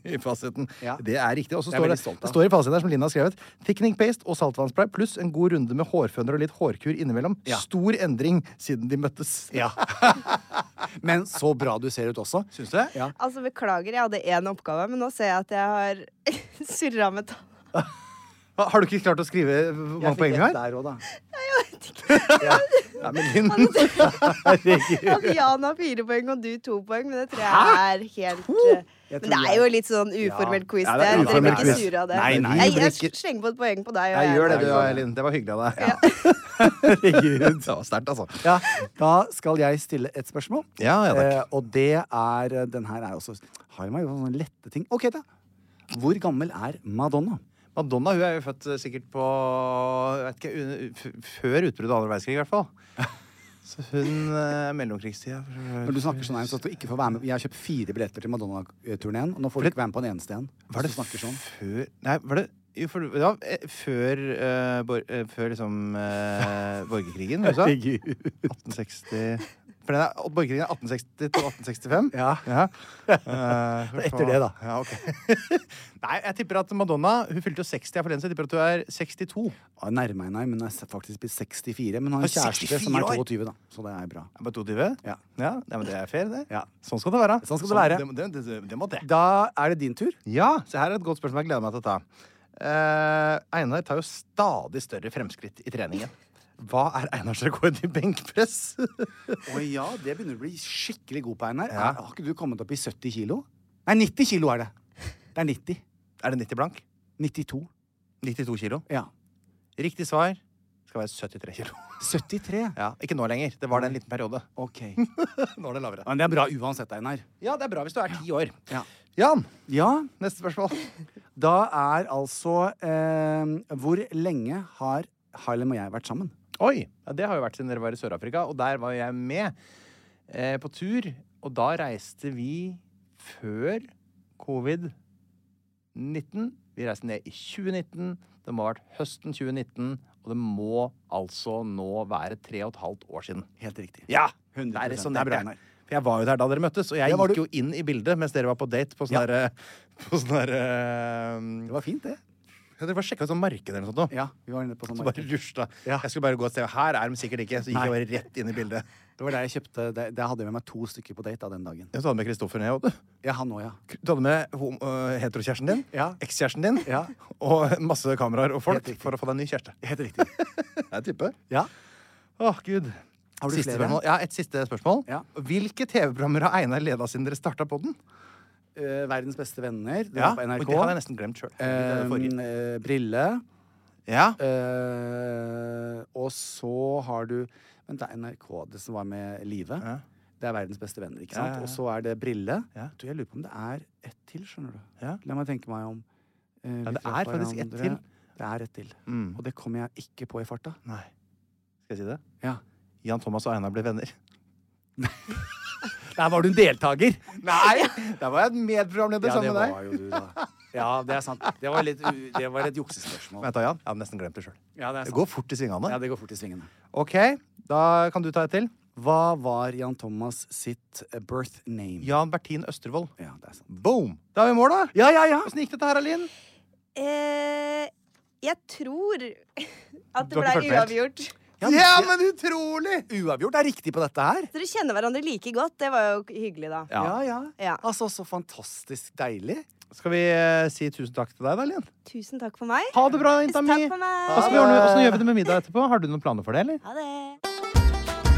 helt (laughs) i fasiten. Ja. Det er riktig. Og så Det er står veldig det, stolt av. det står i fasiten her, som Linn har skrevet, thickening paste og saltvannspray pluss en god runde med hårføner og litt hårkur innimellom. Ja. Stor endring siden de møttes. Ja. Men så bra du ser ut også. Syns (laughs) du det? Ja. Altså, beklager, jeg hadde én oppgave, men nå ser jeg at jeg har (laughs) surra (laughs) med tall. Ha- Har du ikke klart å skrive hvor mange poeng du har? der òg, da. (laughs) Nei, men Linn At Jan har fire poeng og du to poeng, men det tror jeg er helt eh, Jeg Men tror det er jeg- jo litt sånn uformell quiz. Ja, det det er Dere uformell blir ikke quiz. sure av det. Nei, nei, jeg, vi jeg blir ikke- slenger på et poeng på deg. og Jeg gjør det, er sånn du, ærlig. Linn. Det var hyggelig av deg. (laughs) Herregud. Det var sterkt, altså. Ja, da skal jeg stille et spørsmål. Ja, ja, takk. Eh, og det er Den her er også Har meg jo sånne lette ting. OK, da. Hvor gammel er Madonna? Madonna hun er jo født eh, sikkert på jeg vet ikke, un- f- Før utbruddet av andre verdenskrig, i (laughs) hvert fall. Så hun eh, mellomkrigstida Når du snakker sånn her, så at du ikke får være med Jeg har kjøpt fire billetter til Madonna-turneen, og nå får du ikke være med på en eneste en. Var det Hvis du snakker sånn. før Nei, var det jo, for, det var, eh, før, eh, bor, eh, før liksom eh, borgerkrigen i USA. 1860 For den er, borgerkrigen er 1860 til 1865. Ja. (laughs) Eh, Etter det, da. Ja, ok. (laughs) Nei, jeg tipper at Madonna Hun fylte jo 60 her forleden, så jeg tipper at hun er 62. Ja, Nærmer jeg meg, men jeg er faktisk blitt 64. Men har en Er kjæreste som 64 er år? 22, da. Så det er bra. Er Bare 22? Ja. ja. Nei, men det er fair, det. Ja. Sånn skal det være. Sånn skal det være. Det, det, det, det må det. Da er det din tur. Ja, så her er et godt spørsmål jeg gleder meg til å ta. Eh, Einar tar jo stadig større fremskritt i treningen. Hva er Einars rekord i benkpress? (laughs) Å ja, det begynner du å bli skikkelig god på, Einar. Ja. Er- Har ikke du kommet opp i 70 kilo? Nei, 90 kilo er det. Det er 90. er det 90 blank? 92. 92 kilo. Ja. Riktig svar skal være 73 kilo. (laughs) 73. Ja, Ikke nå lenger. Det var det en liten periode. (laughs) Ok. Nå er det lavere. Men det er bra uansett, Einar. Ja, det er bra hvis du er ti år. Ja. Jan, Ja, neste spørsmål. da er altså eh, Hvor lenge har Harlem og jeg vært sammen? Oi! Ja, det har jo vært siden dere var i Sør-Afrika, og der var jeg med eh, på tur. Og da reiste vi før covid-19. Vi reiste ned i 2019. Det må ha vært høsten 2019, og det må altså nå være tre og et halvt år siden. Helt riktig. Ja! 100%. Det er sånn Det er det bra, er. Einar. For jeg var jo der da dere møttes, og jeg Ja, var gikk du- jo inn i bildet mens dere var på date på sånn Ja. derre På sånn derre eh, Det var fint, det. ja, Dere var sjekka ut sånn marked eller noe sånt nå. Ja, vi var inne på sånn Så bare marked. rusla. Ja. Jeg skulle bare gå et sted. Her er de sikkert ikke. Så gikk Nei. jeg bare rett inn i bildet. Det var der jeg kjøpte Der, der hadde jeg med meg to stykker på date da, den dagen. Ja, så hadde du med Kristoffer ned, og du. Ja, han òg, ja. Du hadde med hom- øh, heterokjæresten din, Ja. ekskjæresten din Ja. (laughs) og masse kameraer og Helt folk riktig. for å få deg en ny kjæreste. Helt (laughs) riktig. Jeg tipper. Ja. Åh, gud. Har du siste flere? Spørsmål. Ja, et siste spørsmål. Ja. Hvilke TV-programmer har Einar leda siden dere starta på den? Eh, verdens beste venner. Det var på Og NRK. det hadde jeg nesten glemt sjøl. Eh, eh, brille. ja. Eh, og så har du Vent, det er NRK det som var med Live. Det er verdens beste venner, ikke sant? ja, ja. Og så er det Brille. Ja. Du, jeg lurer på om det er ett til, skjønner du. Ja. La meg tenke meg om. eh, Ja, det litt fra er faktisk ett hverandre. til. Det er ett til. Mm. Og det kommer jeg ikke på i farta. Nei. Skal jeg si det? Ja. Jan Thomas og Einar ble venner. Der var du en deltaker! Nei! Der var jeg medprogramleder Ja, det sammen med deg. var jo du, da. Ja, det er sant. Det var, litt, u- det var et juksespørsmål. Vent da, Jan. Jeg hadde nesten glemt det sjøl. Ja, det er Det sant. går fort i svingene. Ja, det går fort i svingene. OK, da kan du ta et til. Hva var Jan Thomas sitt eh, birth name? Jan Bertin Østervold. Ja, det er sant. Boom! Da er vi i mål, da. Ja, ja, ja! Åssen gikk dette her, Alin? Eh, jeg tror (laughs) at Du har det ikke ble følt med helt. uavgjort. Ja, men utrolig! Uavgjort er riktig på dette her. Dere kjenner hverandre like godt. Det var jo hyggelig, da. Ja, ja. Ja. Altså, så fantastisk deilig. Skal vi eh, si tusen takk til deg, da, Alin? Tusen takk for meg. Ha det bra, jenta mi. Takk for meg. Åssen gjør du- åssen gjør vi det med middag etterpå? Har du noen planer for det, eller? Ha det.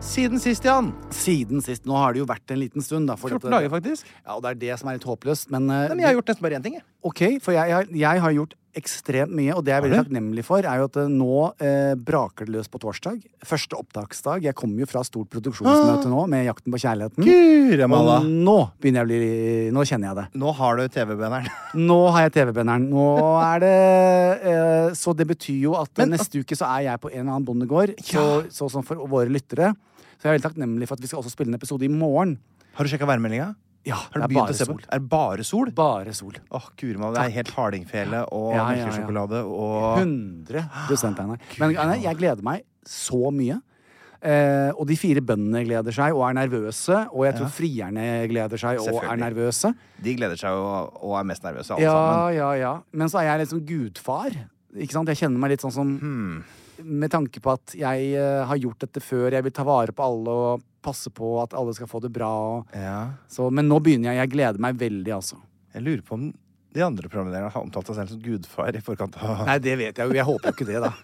Siden sist, Jan. Siden sist. Nå har det jo vært en liten stund, da. for 14 dette- dager, faktisk. Ja, og det er det som er litt håpløst. Men, eh, Nei, men jeg har gjort nesten bare én ting, jeg. OK, for jeg, jeg, jeg har gjort ekstremt mye, og det jeg er veldig Har du? takknemlig for, er jo at eh, nå eh, braker det løs på torsdag. Første opptaksdag. Jeg kommer jo fra stort Ah! produksjonsmøte nå med Jakten på kjærligheten. Guremalla. Og nå begynner jeg å bli Nå kjenner jeg det. Nå har du TV-benneren. Nå har jeg TV-benneren. Nå er det eh, Så det betyr jo at eh, neste uke så er jeg på en eller annen bondegård. Så, så sånn for våre lyttere. Så jeg er veldig takknemlig for at vi skal også spille en episode i morgen. (laughs) Har du sjekka værmeldinga? Ja, Har det du er begynt bare å se på? sol. Er det bare sol? Bare sol. Åh, Guremalla, det er helt hardingfele og Ja, ja, ja. melkesjokolade og 100 Einar. Men Einar, jeg gleder meg så mye. Eh, og de fire bøndene gleder seg og er nervøse. Og jeg tror frierne gleder seg og er Selvfølgelig. nervøse. De gleder seg og, og er mest nervøse, alle Ja, sammen. ja, ja. Men så er jeg liksom gudfar. Ikke sant? Jeg kjenner meg litt sånn som Med tanke på at jeg eh, har gjort dette før, jeg vil ta vare på alle og passe på at alle skal få det bra. Og, Ja. så, men nå begynner jeg. Jeg gleder meg veldig, altså. Jeg lurer på om de andre programlederne har omtalt seg selv som gudfar i forkant av Nei, det vet jeg jo. Jeg håper jo ikke (laughs) det, da.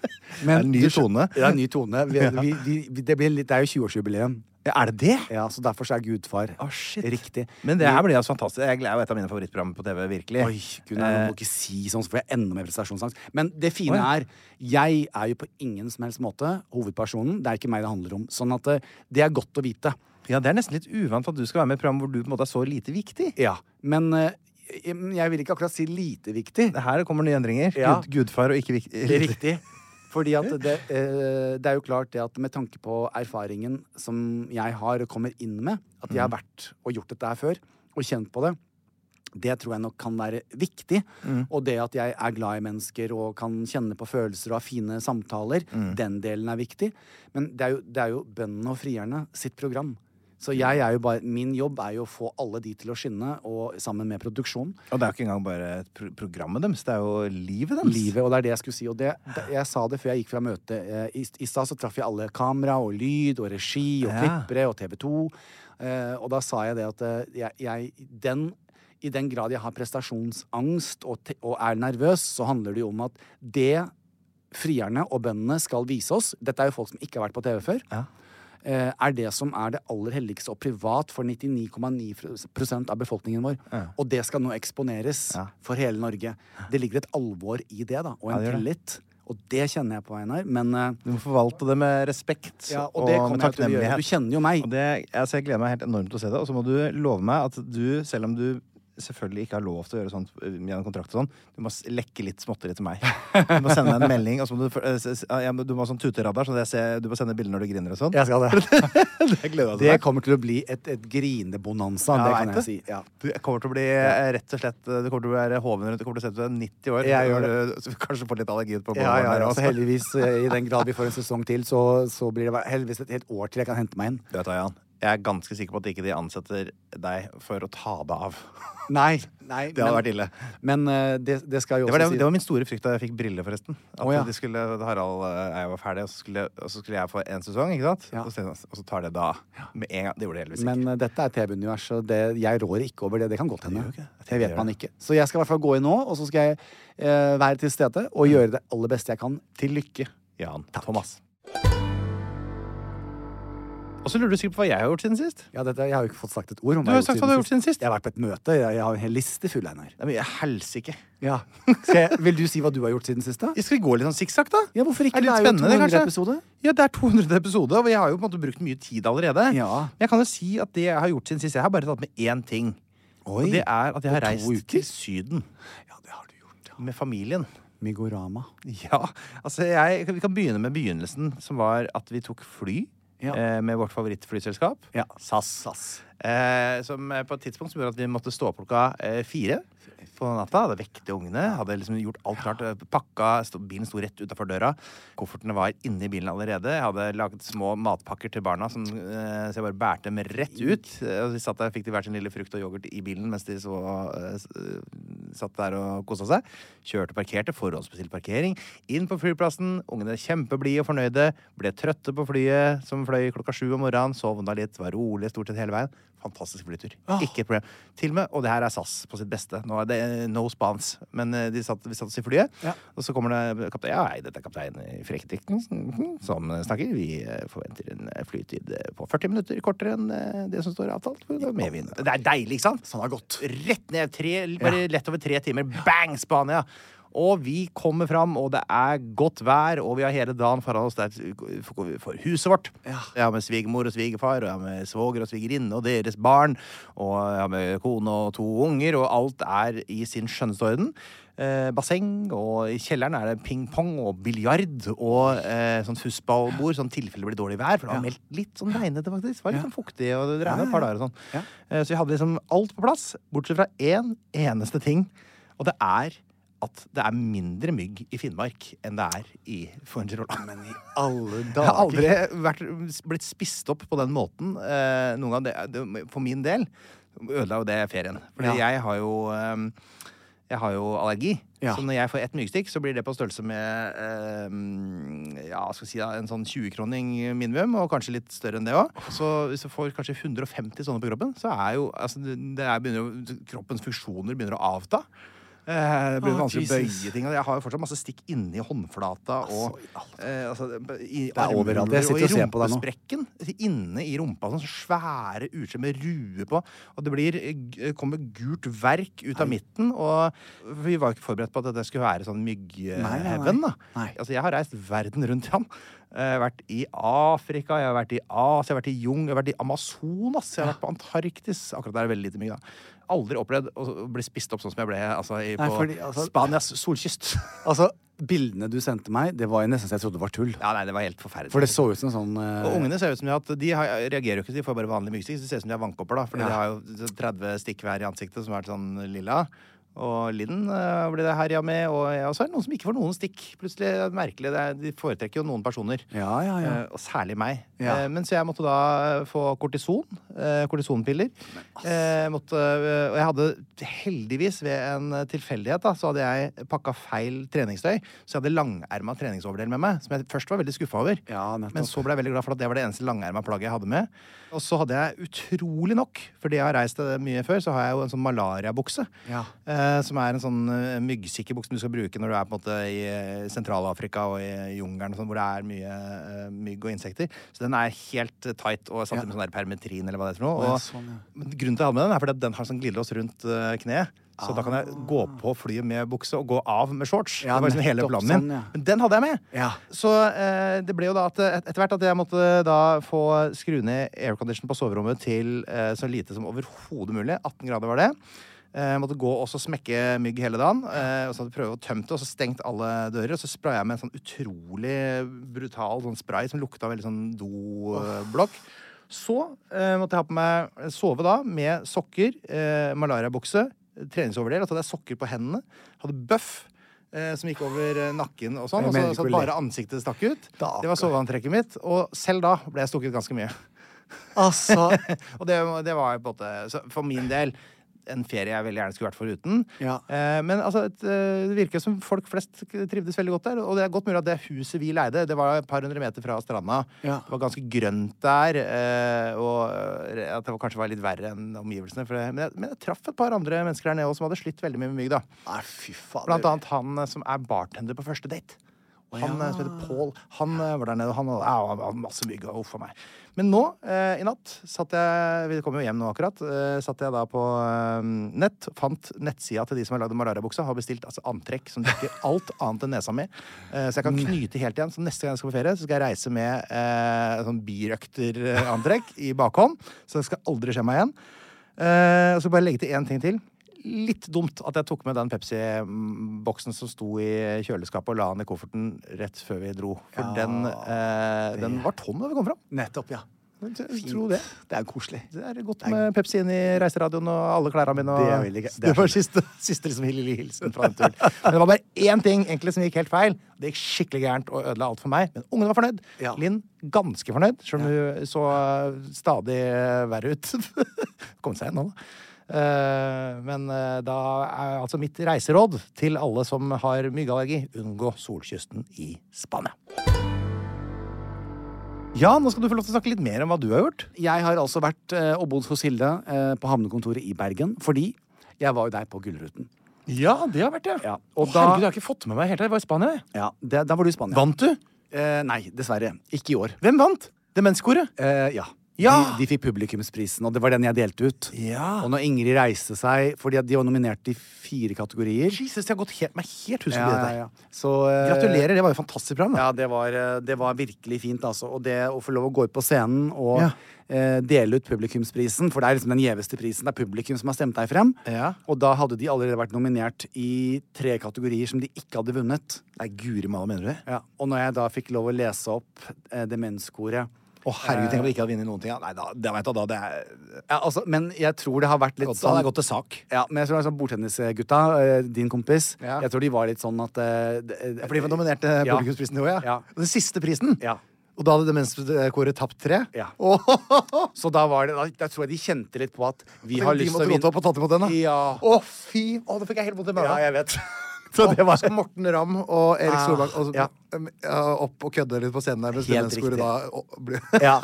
Det er en ny du skjø- tone. (laughs) Ja, en ny tone. Vi, vi, vi, vi, det, blir litt, det er jo 20-årsjubileum. Er det det? Ja, så derfor så er gudfar Ah, shit. riktig. Men det her blir altså fantastisk. Jeg gleder- er jo et av mine favorittprogram på TV, virkelig. Oi, Gunnar, Eh, nå må du ikke si sånn, så får jeg enda mer prestasjonsangst. Men det fine er, jeg er jo på ingen som helst måte hovedpersonen. Det er ikke meg det handler om. Sånn at eh, det er godt å vite. Ja, det er nesten litt uvant at du skal være med i et program hvor du på en måte er så lite viktig. Ja, men eh, jeg jeg vil ikke akkurat si lite viktig. Her kommer nye endringer. Ja. Gud, gudfar og ikke viktig. Det er riktig. Fordi at det, eh, det er jo klart det at med tanke på erfaringen som jeg har og kommer inn med, at jeg har vært og gjort dette her før, og kjent på det, det tror jeg nok kan være viktig. Og det at jeg er glad i mennesker og kan kjenne på følelser og ha fine samtaler, den delen er viktig. Men det er jo, det er jo bøndene og frierne sitt program. Så jeg er jo bare, min jobb er jo å få alle de til å skinne, og sammen med produksjonen. (laughs) Og det er jo ikke engang bare et pro programmet deres, det er jo livet deres. livet, og det er det jeg skulle si. Og det, det, jeg sa det før jeg gikk fra møtet. Eh, I, i stad så traff jeg alle kamera og lyd og regi og Ja. klippere og TV2. Eh, og da sa jeg det at eh, jeg, jeg den, I den grad jeg har prestasjonsangst og, te, og er nervøs, så handler det jo om at det frierne og bøndene skal vise oss Dette er jo folk som ikke har vært på TV før. eh, Er det som er det aller helligste og privat for 99,9 av befolkningen vår. Og det skal nå eksponeres for hele Norge. Det ligger et alvor i det, da, og en det gjør tillit. Og det kjenner jeg på Einar. Men eh, Du må forvalte det med respekt ja, og, og det kan jeg jo med til å gjøre. takknemlighet. Du kjenner jo meg. Og det, altså, jeg gleder meg helt enormt til å se det. Og så må du love meg at du, selv om du selvfølgelig ikke har lov til å gjøre sånt øh, gjennom kontrakt og sånn, du må s- lekke litt småtteri til meg. Du må sende meg en melding, og så må du, øh, s- s- ja, men du må ha sånn tuteradar, så jeg ser, du må sende bilder når du griner og sånn. Jeg skal (laughs) det. Det gleder Det kommer til å bli et, et grinebonanza, Ja, det jeg kan vet jeg si. Ja. Du kommer til å bli eh, rett og slett eh, Du kommer til å være hoven rundt. Du kommer til å se ut som du er 90 år. Jeg gjør det. Så du kanskje får litt allergi på Ja, ja, båndene ja. også. Så heldigvis, eh, i den grad vi får en sesong til, så, så blir det heldigvis et helt år til jeg kan hente meg inn. Du (laughs) vet hva, Jan. Jeg er ganske sikker på at ikke de ansetter deg for å ta deg av. Nei, nei. Det hadde vært ille. Men eh, det, det skal jo Det også var, det, si- det var min store frykt da jeg fikk briller, forresten. At Å, ja. de skulle, Harald eh, jeg var ferdig, og så skulle, og så skulle jeg få én sesong, ikke sant? Ja. Og, så, tenkte jeg, og så tar det da. Med en gang. Det gjorde det heldigvis ikke. Men eh, dette er TV-univers, og det, jeg rår ikke over det. Det kan godt hende. gjør ikke det. Jeg Det, tenker vet det. man ikke. Så jeg skal i hvert fall gå inn nå, og så skal jeg eh, være til stede Mm. og gjøre det aller beste jeg kan. Til lykke. Jan Thomas. Og så lurer du sikkert på hva jeg har gjort siden sist. Ja, dette, jeg har jo ikke fått sagt et ord om Du har jo sagt hva du har gjort siden sist. Jeg har vært på et møte. Jeg, jeg har en hel liste full, Einar. Det er mye helsike. Ja. Skal jeg- Vil du si hva du har gjort siden sist, da? Skal vi gå litt sånn sikksakk, da? Ja, hvorfor ikke? Er det Det er jo litt spennende, 200 det, kanskje? episode. Ja, det er 200 episode, og jeg har jo på en måte brukt mye tid allerede. Ja. Men jeg kan jo si at det jeg har gjort siden sist, jeg har bare tatt med én ting. Oi. Og det er at jeg På har to reist uker? til Syden Ja, det har du gjort. Ja. med familien. Migorama. Ja, altså jeg, Vi kan begynne med begynnelsen, som var at vi tok fly Ja. eh, med vårt favorittflyselskap. Ja. SAS. Eh, som eh, på et tidspunkt som gjorde at vi måtte stå opp klokka eh, fire på natta. Hadde vekt de ungene, hadde liksom gjort alt klart. eh, Pakka, sto, bilen sto rett utafor døra. Koffertene var inni bilen allerede. Jeg hadde laget små matpakker til barna, som, eh, så jeg bare bærte dem rett ut. Eh, og vi satt der, fikk de hver sin lille frukt og yoghurt i bilen mens de så eh, s- eh, satt der og kosa seg. Kjørte og parkerte, forhåndsbestilt parkering. Inn på flyplassen, ungene kjempeblide og fornøyde. Ble trøtte på flyet, som fløy klokka sju om morgenen. Sovna litt, var rolig stort sett hele veien. Fantastisk flytur. Ikke et problem. Til og med, og det her er SAS på sitt beste. Nå er det eh, no spans, men eh, de satt, vi satt oss i flyet, og så kommer det kaptein Ja, hei, dette er kaptein Frekkedikten som snakker. Vi eh, forventer en eh, flytid eh, på 40 minutter kortere enn eh, det som står avtalt. Med vind. Det er deilig, ikke sant? Sånn har gått. Rett ned. Tre, bare lett over tre timer. Bang, Spania! Og vi kommer fram, og det er godt vær, og vi har hele dagen foran oss der for for huset vårt. Jeg har med svigermor og svigerfar, og jeg har med svoger og svigerinne og deres barn, og jeg har med kone og to unger, og alt er i sin skjønneste orden. Eh, basseng, og i kjelleren er det ping-pong og biljard og eh, sånn fussballbord, sånn tilfelle det blir dårlig vær, for det var meldt litt sånn regnete, faktisk. Det var litt sånn fuktig, og det regnet et par dager og sånn. Eh, Så vi hadde liksom alt på plass, bortsett fra én eneste ting. Og det er at det er mindre mygg i Finnmark enn det er i Fuengirola. Men i alle Jeg har aldri dager. vært, blitt spist opp på den måten eh, noen gang. Det, det, for min del ødela jo det ferien. For Ja. jeg har jo eh, jeg har jo allergi, Ja. så når jeg får ett myggstikk, så blir det på størrelse med eh, ja, skal vi si da, en sånn 20-kroning minimum, og kanskje litt større enn det òg. Så hvis du får kanskje 150 sånne på kroppen, så er jo altså, det er begynner, jo- kroppens funksjoner begynner å avta. Eh, det blir Å, vanskelig å Jesus. bøye ting. og Jeg har jo fortsatt masse stikk inni håndflata og eh, altså, i er overalt. armhuler Jeg sitter og ser på deg nå. rumpesprekken. Inne i rumpa. Sånn svære utskjell med rue på. Og det blir, eh, kommer gult verk ut av midten. Og vi var jo ikke forberedt på at det skulle være sånn Nei, nei, nei. myggheaven. da. Nei. Altså, jeg har reist verden rundt, Jan. Jeg har vært i Afrika, jeg har vært i Asia, jeg har vært i Jung, jeg har vært i Amazonas, jeg har vært på Antarktis. Akkurat der er det veldig lite mygg, da. Aldri opplevd å bli spist opp sånn som jeg ble altså, i, Nei, på fordi, altså- Spanias solkyst. (laughs) Altså, bildene du sendte meg, det var jo nesten så jeg trodde det var tull. Ja, nei, det var helt forferdelig. For det så ut som sånn eh, Og ungene ser ut som de har hatt De har, reagerer jo ikke, så de får bare vanlig myggstikk. så Det ser ut som de har vannkopper, da. For de har jo 30 stikk hver i ansiktet som har vært sånn lilla. Og Linn eh, ble det herja med. Og, ja, så er det noen som ikke får noen stikk. Plutselig, det er merkelig. Det er, de foretrekker jo noen personer. Ja, ja, ja. Eh, og særlig meg. Ja. Eh, men så jeg måtte da eh, få kortison. Eh, kortisonpiller. Eh, måtte, eh, og jeg hadde heldigvis ved en eh, tilfeldighet da, så hadde jeg pakka feil treningstøy. Så jeg hadde langerma treningsoverdel med meg, som jeg først var veldig skuffa over. Ja, nettopp. men så ble jeg veldig glad for at det var det eneste langerma plagget jeg hadde med. Og så hadde jeg utrolig nok, fordi jeg har reist eh, mye før, så har jeg jo en sånn malariabukse. Ja. Eh, som er en sånn eh, myggsikker bukse som du skal bruke når du er på en måte i eh, Sentral-Afrika og i jungelen og sånn, hvor det er mye eh, mygg og insekter. Så den er helt eh, tight og samtidig med sånn der permetrin eller hva det er for noe. Å, ja, Og sånn, ja. men Grunnen til å ha med den er fordi at den har sånn glidelås rundt eh, kneet. Så da kan jeg gå på flyet med bukse og gå av med shorts. Ah. Ja, det var liksom hele nettopp planen min. sånn, ja. Men den hadde jeg med! Ja. Så eh, det ble jo da at eh, et, etter hvert at jeg måtte da få skru ned aircondition på soverommet til eh, så lite som overhodet mulig. 18 grader var det. Eh, måtte gå og så smekke mygg hele dagen. Eh, og så prøve å tømme det, og så stengt alle dører. Og så spraya jeg med en sånn utrolig brutal sånn spray som lukta veldig sånn doblokk. Så eh, måtte jeg ha på meg sove da med sokker, eh, malariabukse, treningsoverdel. Og så hadde jeg sokker på hendene. Hadde bøff. eh, Som gikk over eh, nakken og sånn. Jeg Og så, mener så ikke å le. bare ansiktet stakk ut. Stakkar. Det var soveantrekket mitt. Og selv da ble jeg stukket ganske mye. (laughs) Altså Og det, det var på en måte så For min del en ferie jeg veldig gjerne skulle vært foruten. Ja. Eh, men altså, et, eh, det virker som folk flest trivdes veldig godt der. Og det er godt mulig at det huset vi leide, det var et par hundre meter fra stranda. Ja. Det var ganske grønt der. Eh, og eh, at det var, kanskje var litt verre enn omgivelsene. For det. Men, jeg, men jeg traff et par andre mennesker her nede også, som hadde slitt veldig mye med mygg. da. Nei, fy faen. Blant annet han eh, som er bartender på første date. Han eh, som heter Paul. Han eh, var der nede, og han hadde, au, han hadde masse mygg. og Uff a meg. Men nå eh, i natt satt jeg Vi kom jo hjem nå akkurat. Eh, satt jeg da på eh, nett, fant nettsida til de som har lagd malariabuksa. Har bestilt altså, antrekk som dekker alt annet enn nesa mi. Eh, så jeg kan knyte helt igjen. Så neste gang jeg skal på ferie, så skal jeg reise med eh, sånn birøkterantrekk i bakhånd. Så det skal aldri skje meg igjen. Eh, og så bare legge til én ting til. Litt dumt at jeg tok med den Pepsi-boksen som sto i kjøleskapet, og la den i kofferten rett før vi dro. For den, eh, den var tom da vi kom fram. Nettopp, ja. Jeg Tror det. Det er jo koselig. Det er godt med Pepsi inn i reiseradioen og alle klærne mine. Og... Det er veldig gøy. Det er Det var siste, siste liksom lille hilsen fra den turen. Men det var bare én ting egentlig som gikk helt feil. Det gikk skikkelig gærent og ødela alt for meg. Men ungene var fornøyd. Ja. Linn ganske fornøyd, selv om hun så eh, stadig verre ut. (laughs) Kom seg igjen nå, da. Eh, Men eh, da er altså mitt reiseråd til alle som har myggallergi, unngå solkysten i Spania. Ja, nå skal du få lov til å snakke litt mer om hva du har gjort. Jeg har altså vært eh, og bodd hos Hilde eh, på havnekontoret i Bergen fordi jeg var jo der på Gullruten. Ja, det har vært det. Ja, Og og da... da- Herregud, jeg har ikke fått med meg helt. Jeg var i Spania. jeg. Ja, det, Da var du i Spania. Vant du? Eh, nei, dessverre. Ikke i år. Hvem vant? Demenskoret? Eh, ja. Ja! De, de fikk publikumsprisen, og det var den jeg delte ut. Ja. Og når Ingrid reiste seg, fordi at de var nominert i fire kategorier Jesus, det har gått helt, meg helt hus forbi Ja, dette ja, her. ja. Så, eh, Gratulerer, det var jo et fantastisk program. da. Ja, det var, eh, det var virkelig fint, altså. Og det å få lov å gå ut på scenen og Ja. eh, dele ut publikumsprisen, for det er liksom den gjeveste prisen. Det er publikum som har stemt deg frem. Ja. Og da hadde de allerede vært nominert i tre kategorier som de ikke hadde vunnet. Nei, guri malla, mener du det? Ja. Og når jeg da fikk lov å lese opp eh, demenskoret Å, herregud, tenk om jeg ikke hadde vunnet noen ting. ja. Nei, da, da vet du, da det er Ja, altså, men jeg tror det har vært litt sånn godt, Da hadde jeg gått til sak. Ja, men jeg tror altså, Bordtennisgutta, eh, din kompis, Ja. jeg tror de var litt sånn at eh, det- Ja, For de var nominert til Ja. publikumsprisen i år, ja. Ja. Og Den siste prisen. Ja. Og da hadde Demenskoret tapt tre. Ja. Åh, Så da var det da, da tror jeg de kjente litt på at vi Tenk, har de lyst måtte til å gått opp og tatt imot den, da. Ja. Å, fy! Å, det fikk jeg helt vondt i magen. Ja, jeg vet. Så det var Morten Ramm og Erik Ah, Solbakk og, ja. um, ja, opp og kødde litt på scenen der mens Helt Demenskoret riktig. da og (laughs) ble Ja.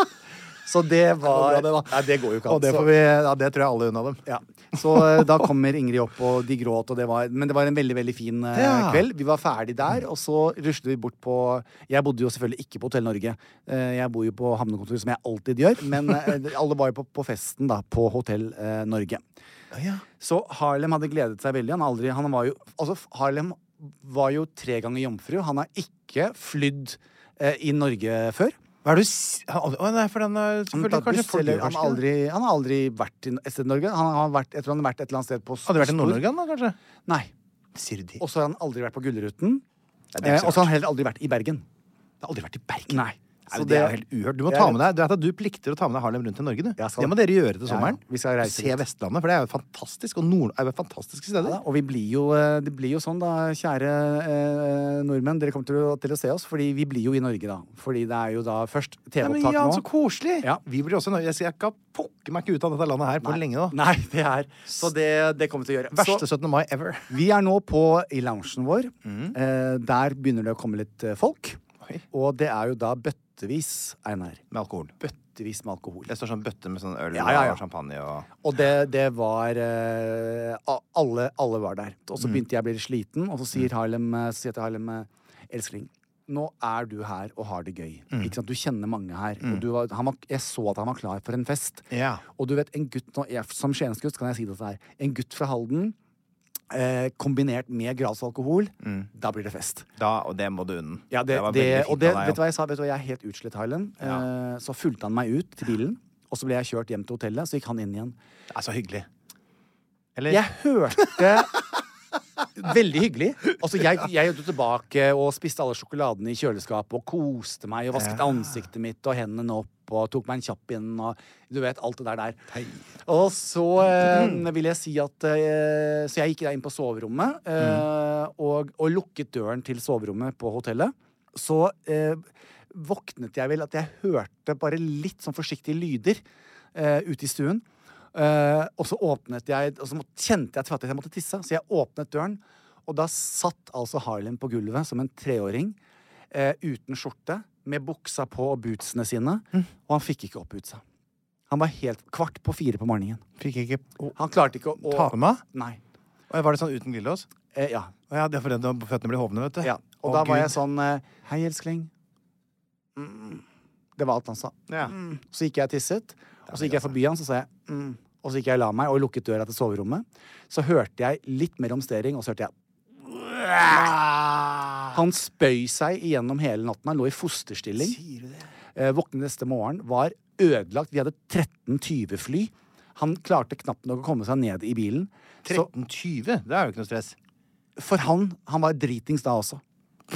Så det var Det var bra, det, da. Nei, det går jo ikke Og det, så- får vi, ja, det tror jeg alle unna dem. Ja. Så eh, da kommer Ingrid opp, og de gråt, og det var Men det var en veldig, veldig fin eh, Ja. kveld. Vi var ferdig der, og så ruslet vi bort på Jeg bodde jo selvfølgelig ikke på Hotell Norge. Eh, Jeg bor jo på havnekontoret, som jeg alltid gjør, men eh, alle var jo på, på festen, da, på Hotell eh, Norge. Så Harlem hadde gledet seg veldig. Han, har aldri, han var jo Altså, Harlem var jo tre ganger jomfru. Han har ikke flydd eh, i Norge før. Hva er det du s- Å nei, for den er Han, selvfølgelig har tatt kanskje buss, eller han, har folkeuniversitet. aldri, han har aldri vært i et sted i Norge. Han har vært, jeg tror han har vært et eller annet sted på Hadde du vært i Stor- Nord-Norge, da, kanskje? Nei. Sier du det? Og så har han aldri vært på Gullruten. det er Eh, ikke så Og så har han heller aldri vært i Bergen. Jeg har aldri vært i Bergen. Nei. Så Så det er jo det- helt uhørt. Du må Jeg ta vet. med deg, du vet at du plikter å ta med deg Harlem rundt til Norge, du. Ja, skal- Det må dere gjøre til Ja, sommeren. ja. Vi skal reise Se dit. Vestlandet, for det er jo fantastisk. Og Nord er jo fantastiske steder. Ja, og vi blir jo, eh, det blir jo sånn, da, kjære eh, nordmenn, dere kommer til å, til å se oss, fordi vi blir jo i Norge, da. Fordi det er jo da først Ja, men TV-opptak Jan, nå. så koselig! Ja. Vi blir også i Norge. Jeg skal- Jeg kan pokker meg ikke ut av dette landet her på lenge nå. Nei, det er Så det, det kommer vi til å gjøre. Verste Så, 17. mai ever. vi er nå på i loungen vår. Eh, der begynner det å komme litt eh, folk. Oi. Og det er jo da bøttevis, Einar. Med alkohol. Bøttevis med alkohol. Det står sånn bøtte med sånn øl Ja, ja, ja. og champagne og Og det, det var eh, a- alle, alle var der. Og så Mm. begynte jeg å bli litt sliten, og så sier Harlem, eh, så sier jeg til Harlem eh, Elskling, nå er du her og har det gøy. Mm. Ikke sant? Du kjenner mange her. Og du var, han var, jeg så at han var klar for en fest. Ja. Og du vet, en gutt nå, jeg, som skiensgutt kan jeg si dette her. En gutt fra Halden eh, kombinert med gratis alkohol, da blir det fest. Da, og Mm. det må du unne. Ja, det, var det, veldig fint og det, av deg, vet du ja. hva jeg sa? Vet du hva, jeg er helt utslett, Harlem. Ja. Eh, så fulgte han meg ut til bilen, og så ble jeg kjørt hjem til hotellet. Så gikk han inn igjen. Det er så hyggelig. Eller? Jeg hørte (laughs) Veldig hyggelig. Altså, jeg, jeg gikk jo tilbake og spiste alle sjokoladene i kjøleskapet og koste meg og vasket ansiktet mitt og hendene opp og tok meg en kjapp inn og du vet, alt det der der. Og så eh, vil jeg si at eh, Så jeg gikk da inn på soverommet eh, og, og lukket døren til soverommet på hotellet. Så eh, våknet jeg vel at jeg hørte bare litt sånn forsiktige lyder eh, ute i stuen. Eh, og så åpnet jeg Og så må- kjente jeg til at jeg måtte tisse, så jeg åpnet døren. Og da satt altså Harlem på gulvet som en treåring eh, uten skjorte, med buksa på og bootsene sine. Mm. Og han fikk ikke opp bootsa. Han var helt kvart på fire på morgenen. Fikk jeg ikke å, Han klarte ikke å, å ta med meg? Nei. Og Var det sånn uten glidelås? Eh, ja. Å ja, det er fordi at føttene blir hovne, vet du. ja. Og Å, da var Gud. jeg sånn eh, Hei, elskling. Mm. Det var alt han sa. Ja. Mm. Så gikk jeg og tisset, og så gikk jeg forbi han, så sa jeg mm. Og så gikk jeg og la meg, og lukket døra til soverommet. Så hørte jeg litt mer omstering, og så hørte jeg Han spøy seg igjennom hele natten. Han lå i fosterstilling. Eh, våknet neste morgen, var ødelagt. Vi hadde 13 20-fly. Han klarte knapt nok å komme seg ned i bilen. Så 13.20? Det er jo ikke noe stress. for han, han var dritings da også.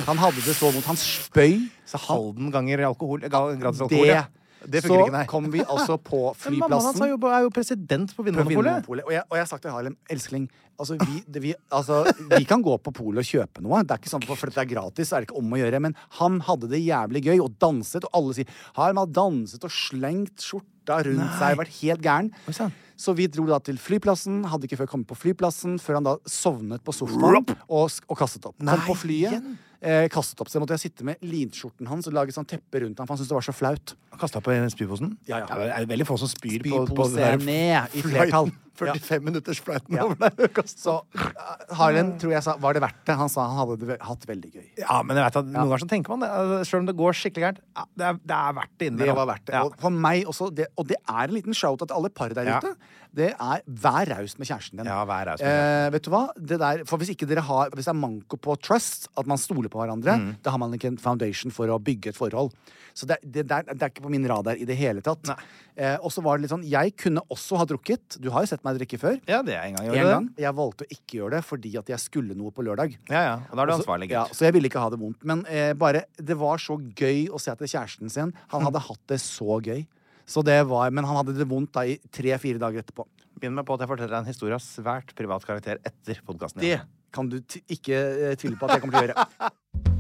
Han hadde det så vondt. Han spøy. Så Halden ganger alkohol, ga- gratis alkohol, Det, ja. Det så funker ikke, nei. kom vi altså på (laughs) Men mammaen hans flyplassen. har jo- er jo president på på Vinmonopolet. Vinmonopolet. Og jeg og jeg har sagt til Harlem, elskling, altså vi, det, vi, altså, vi kan gå på polet og kjøpe noe. Det er ikke sånn, for- for det er gratis, så er det ikke om å gjøre. Men han hadde det jævlig gøy og danset, og alle sier Harlem har danset og slengt skjorta rundt seg, vært helt gæren. Oi, sann. Så vi dro da til flyplassen, hadde ikke før kommet på flyplassen, før han da sovnet på sofaen og, s- og kastet opp. Nei, Kom på flyet, igjen? eh, kastet opp. Så måtte jeg sitte med linskjorten hans og lage sånn teppe rundt ham, for han syntes det var så flaut. Kasta på spyposen? Ja, ja. Det er jo veldig få som spyr på, på Spypose det der ned i flighten. (laughs) flertall. Ja. 45 minutters flighten (laughs) Ja. over der. Kastet Så eh, Harlem tror jeg sa Var det verdt det? Han sa han hadde det ve- hatt veldig gøy. Ja, men jeg vet at noen ganger så tenker man det. Altså, Selv om det går skikkelig gærent. Ja, det, er- det er verdt det Det innimellom. var verdt det. Ja. Og for meg også, det, og det er en liten shout-out til alle par der Ja. ute. Det er vær raus med kjæresten din. Ja, vær raus med eh, vet du hva? Det der, for hvis ikke dere har Hvis det er manko på trust, at man stoler på hverandre, Mm. da har man ikke en foundation for å bygge et forhold. Så det, det, der, det er ikke på min radar i det hele tatt. Eh, og så var det litt sånn Jeg kunne også ha drukket. Du har jo sett meg drikke før. Ja, det er en gang. gjorde En det. gang. Jeg valgte å ikke gjøre det fordi at jeg skulle noe på lørdag. Ja, ja. Og da er du Og så- ansvarlig, Ja, gutt. så jeg ville ikke ha det vondt. Men eh, bare, det var så gøy å se at det er kjæresten sin Han Mm. hadde hatt det så gøy. Så det var, men han hadde det vondt da i tre-fire dager etterpå. Begynn med på at jeg forteller deg en historie av svært privat karakter etter podkasten. Det kan du t ikke eh, tvile på at jeg kommer til å gjøre. (laughs)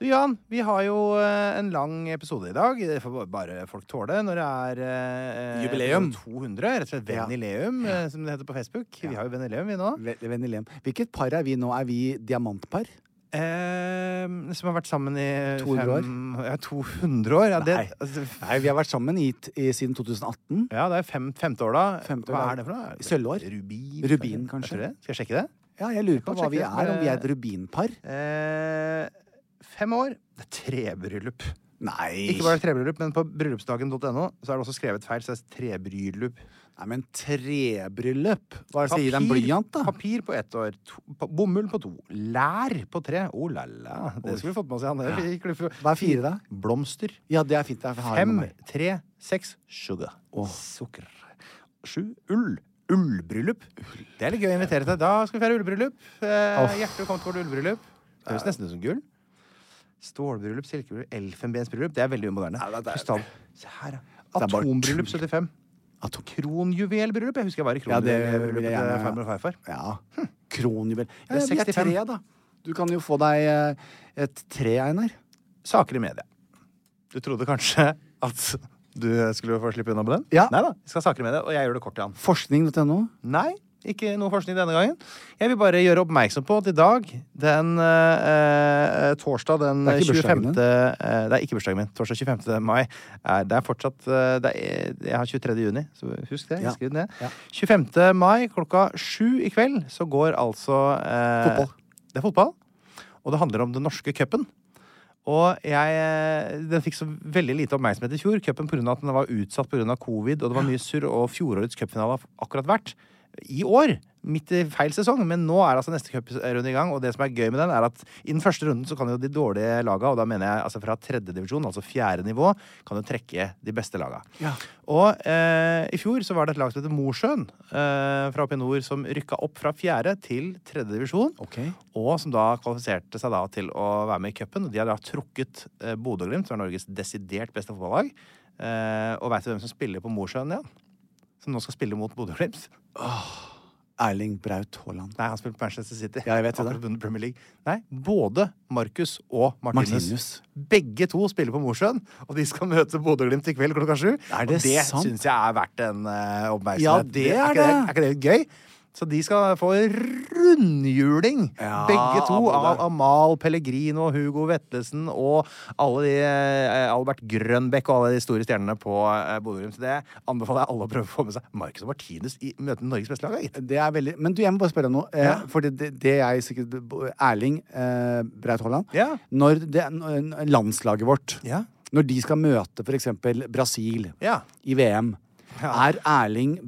Du, Jan, vi har jo eh, en lang episode i dag. Det får bare folk tåle når det er eh, Jubileum. episode 200. Rett og slett Ja. Venileum, eh, som det heter på Facebook. Vi har jo Venileum, vi nå. Ve- Vennlig lem. Hvilket par er vi nå? Er vi diamantpar? Eh, som har vært sammen i 200 år? fem- Ja, 200 år. Ja, det, Nei. altså, f- Nei, vi har vært sammen hit i, siden 2018. ja, det er fem, femte år, da. Femte Hva år. er det for noe? Sølvår. Rubin. Rubin, Jeg tror kanskje. det. Skal jeg sjekke det? Ja, jeg lurer på Kan hva vi sjekke det, er. Om vi er et rubinpar? Eh, fem år. Det er trebryllup. Nei. Ikke bare trebryllup, men på bryllupsdagen.no så er det også skrevet feil. Så det er trebryllup. Nei, men trebryllup? Hva er det som gir deg en Papir- blyant, da? Papir på ett år. To, pa- bomull på to. Lær på tre. Oh la la. Det skulle vi fått med oss, Jan. Det fikk du få- Hva er fire, da? Blomster. Ja, det er fint. Jeg har en Fem, med meg. tre, seks, sugar. Sukker. Sju, ull. Ullbryllup. Det er litt gøy å invitere til. Da skal vi feire ullbryllup. Eh, Hjertelig velkommen til vårt ullbryllup. Det høres nesten ut som gull. Stålbryllup, silkebryllup, elfenbensbryllup. Det er veldig umoderne. Krystall. Se her, ja. Det er bare Atombryllup tull. 75. Kronjuvelbryllup. Jeg husker jeg var i Ja, det kronjuvelbryllupet vil jeg til gjerne- farmor og farfar. Ja. Hm. Kronjuvel. Ja, Det er vi er 65. tre, da. Du kan jo få deg eh, et tre, Einar. Saker i media. Du trodde kanskje at du skulle få slippe unna med den? Ja. Nei da. Vi skal ha saker i media, og jeg gjør det kort, Jan. Forskning.no. Nei, ikke noe forskning denne gangen. Jeg vil bare gjøre oppmerksom på at i dag, den eh, eh, torsdag den Det er ikke 25. bursdagen din. eh, det er ikke bursdagen min. Torsdag 25. mai. Er, det er fortsatt eh, det er, Jeg har 23. juni, så husk det. Ja. Skriv det ned. Ja. 25. mai klokka sju i kveld så går altså eh, Fotball. Det er fotball. Og det handler om den norske cupen. Og jeg, eh, den fikk så veldig lite oppmerksomhet i fjor, cupen pga. at den var utsatt pga. covid, og det var mye surr, og fjorårets cupfinale har akkurat vært i år. Midt i feil sesong, men nå er altså neste cuprunde i gang. Og det som er gøy med den, er at i den første runden så kan jo de dårlige laga, og da mener jeg altså fra tredjedivisjon, altså fjerde nivå, kan jo trekke de beste laga. Ja. Og eh, i fjor så var det et lag som heter Mosjøen eh, fra oppe i nord, som rykka opp fra fjerde til tredjedivisjon. Ok. Og som da kvalifiserte seg da til å være med i cupen. De har da trukket eh, Bodø-Glimt, som er Norges desidert beste fotballag. Eh, og veit du hvem som spiller på Mosjøen igjen? Som nå skal spille mot Bodø-Glimt? Erling Braut Haaland. Nei, han spiller på Manchester City. Ja, jeg vet det. Akkurat vunnet Premier League. Nei, både Markus og Martinus. Martinus. Begge to spiller på Mosjøen, og de skal møte Bodø-Glimt i kveld klokka sju. Er og det det sant? syns jeg er verdt en eh, oppmerksomhet. Ja, det er ikke det. Er ikke det litt gøy? Så de skal få rundhjuling, Ja, begge to, av Bodø. av Amal Pellegrino, Hugo Vetlesen og alle de, eh, Albert Grønbekk og alle de store stjernene på eh, Bodø-Glimt. Så det anbefaler jeg alle å prøve å få med seg. Markus og Martinus i møte med Norges beste lag, da, gitt. Det er veldig Men du, jeg må bare spørre deg noe. Eh, Ja. For det, det, det er sikkert Erling eh, Braut Haaland. Ja. Når det, når landslaget vårt Ja. Når de skal møte for eksempel Brasil Ja. i VM, er Erling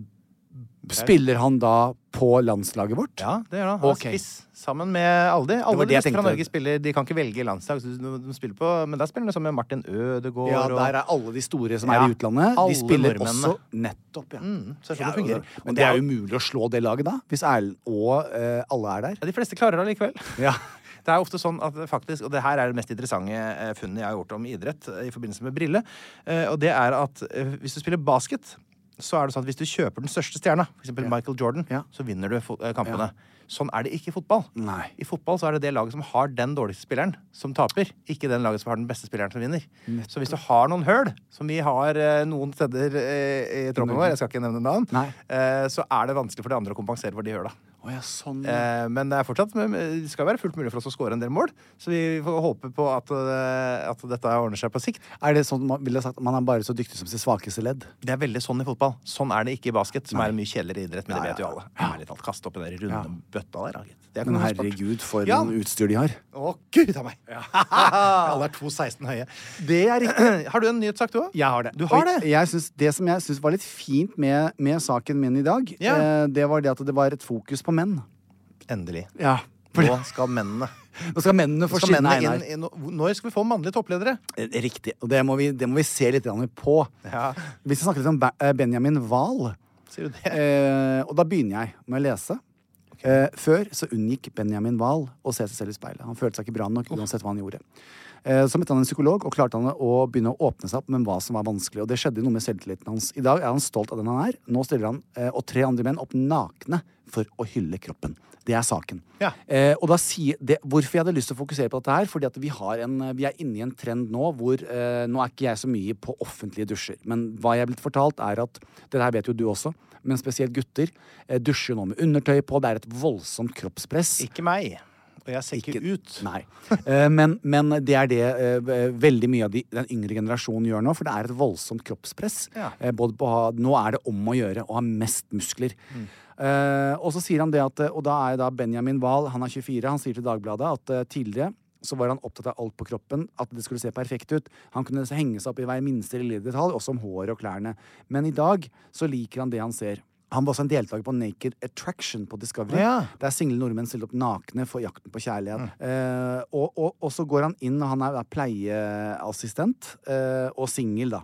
Spiller han da på landslaget vårt? Ja, det gjør han. Han er Ok. spiss sammen med alle de. Alle var de det jeg beste fra tenkte. Norge spiller, de kan ikke velge landslag, så de, de spiller på, men der spiller de sammen med Martin Ødegaard Ja, og der er alle de store som Ja, er i utlandet. alle De spiller nordmennene. Mm, også nettopp, ja. så jeg tror Ja, det fungerer. og- Og Men det er det jo er- umulig å slå det laget da, hvis Erlend og eh, alle er der. Ja, De fleste klarer det allikevel. (laughs) Ja. Det er ofte sånn at det faktisk, og det her er det mest interessante eh, funnet jeg har gjort om idrett eh, i forbindelse med brille, eh, og det er at eh, hvis du spiller basket, så er det sånn at hvis du kjøper den største stjerna, f.eks. eksempel Michael Jordan, Ja. så vinner du fo- eh, kampene. Sånn er det ikke i fotball. Nei. I fotball så er det det laget som har den dårligste spilleren, som taper. Ikke den laget som har den beste spilleren, som vinner. Så hvis du har noen høl, som vi har eh, noen steder eh, i troppen vår, jeg skal ikke nevne navn, Nei. eh, så er det vanskelig for de andre å kompensere for de høla. Å ja, sånn. Eh, men det er fortsatt men det skal være fullt mulig for oss å score en del mål. Så vi får håpe på at, eh, at dette ordner seg på sikt. Er det sånn man ville sagt man er bare så dyktig som sitt svakeste ledd? Det er veldig sånn i fotball. Sånn er det ikke i basket, som er en mye kjedeligere idrett. Men det vet jo alle. Ærlig talt, Kaste opp i den der runde bøtta der. da, gitt. Det er ikke Men noe sport. herregud, for Ja. noen utstyr de har. Å, gud a meg! (laughs) alle er 2,16 høye. Det er riktig. (clears throat) Har du en nyhetssak, du òg? Jeg har det. Du har Og det? Jeg synes, det som jeg syns var litt fint med, med saken min i dag, Ja. eh, det var det at det var et fokus på menn. Endelig. Ja. Nå skal (laughs) mennene Nå skal mennene Nå få skal skinne, mennene Einar. inn, inn, og- Når skal vi få mannlige toppledere? Eh, Riktig. Og det må vi, det må vi se litt grann på. Ja. Vi skal snakke litt om Ba- eh, Benjamin Wahl. Sier du det? Eh, og da begynner jeg med å lese. Eh, før så unngikk Benjamin Wahl å se seg selv i speilet. Han følte seg ikke bra nok uansett hva han gjorde. Eh, så møtte han en psykolog, og klarte han å begynne å åpne seg opp med hva som var vanskelig. Og det skjedde noe med selvtilliten hans. I dag er han stolt av den han er. Nå stiller han eh, og tre andre menn opp nakne for å hylle kroppen. Det er saken. Ja. Eh, og da sier det, Hvorfor jeg hadde lyst til å fokusere på dette her? Fordi at vi, har en, eh, vi er inne i en trend nå hvor eh, Nå er ikke jeg så mye på offentlige dusjer, men hva jeg er blitt fortalt, er at Dette her vet jo du også, men spesielt gutter eh, dusjer jo nå med undertøy på. Det er et voldsomt kroppspress. Ikke meg. Og jeg ser ikke, ut. Nei. Eh, men, men det er det eh, ve- veldig mye av de, den yngre generasjonen gjør nå. For det er et voldsomt kroppspress. Ja. Eh, både på, ha- nå er det om å gjøre å ha mest muskler. Eh, og så sier han det at eh, Og da er da Benjamin Wahl, han er 24, han sier til Dagbladet at eh, tidligere så var han opptatt av alt på kroppen, at det skulle se perfekt ut. Han kunne henge seg opp i hver minste lille detalj, også om håret og klærne. Men i dag så liker han det han ser. Han var også en deltaker på Naked Attraction på Discovery. Ja. Der single nordmenn stiller opp nakne for jakten på kjærlighet. Eh, og, og, og så går han inn, og han er, er pleieassistent eh, og singel, da.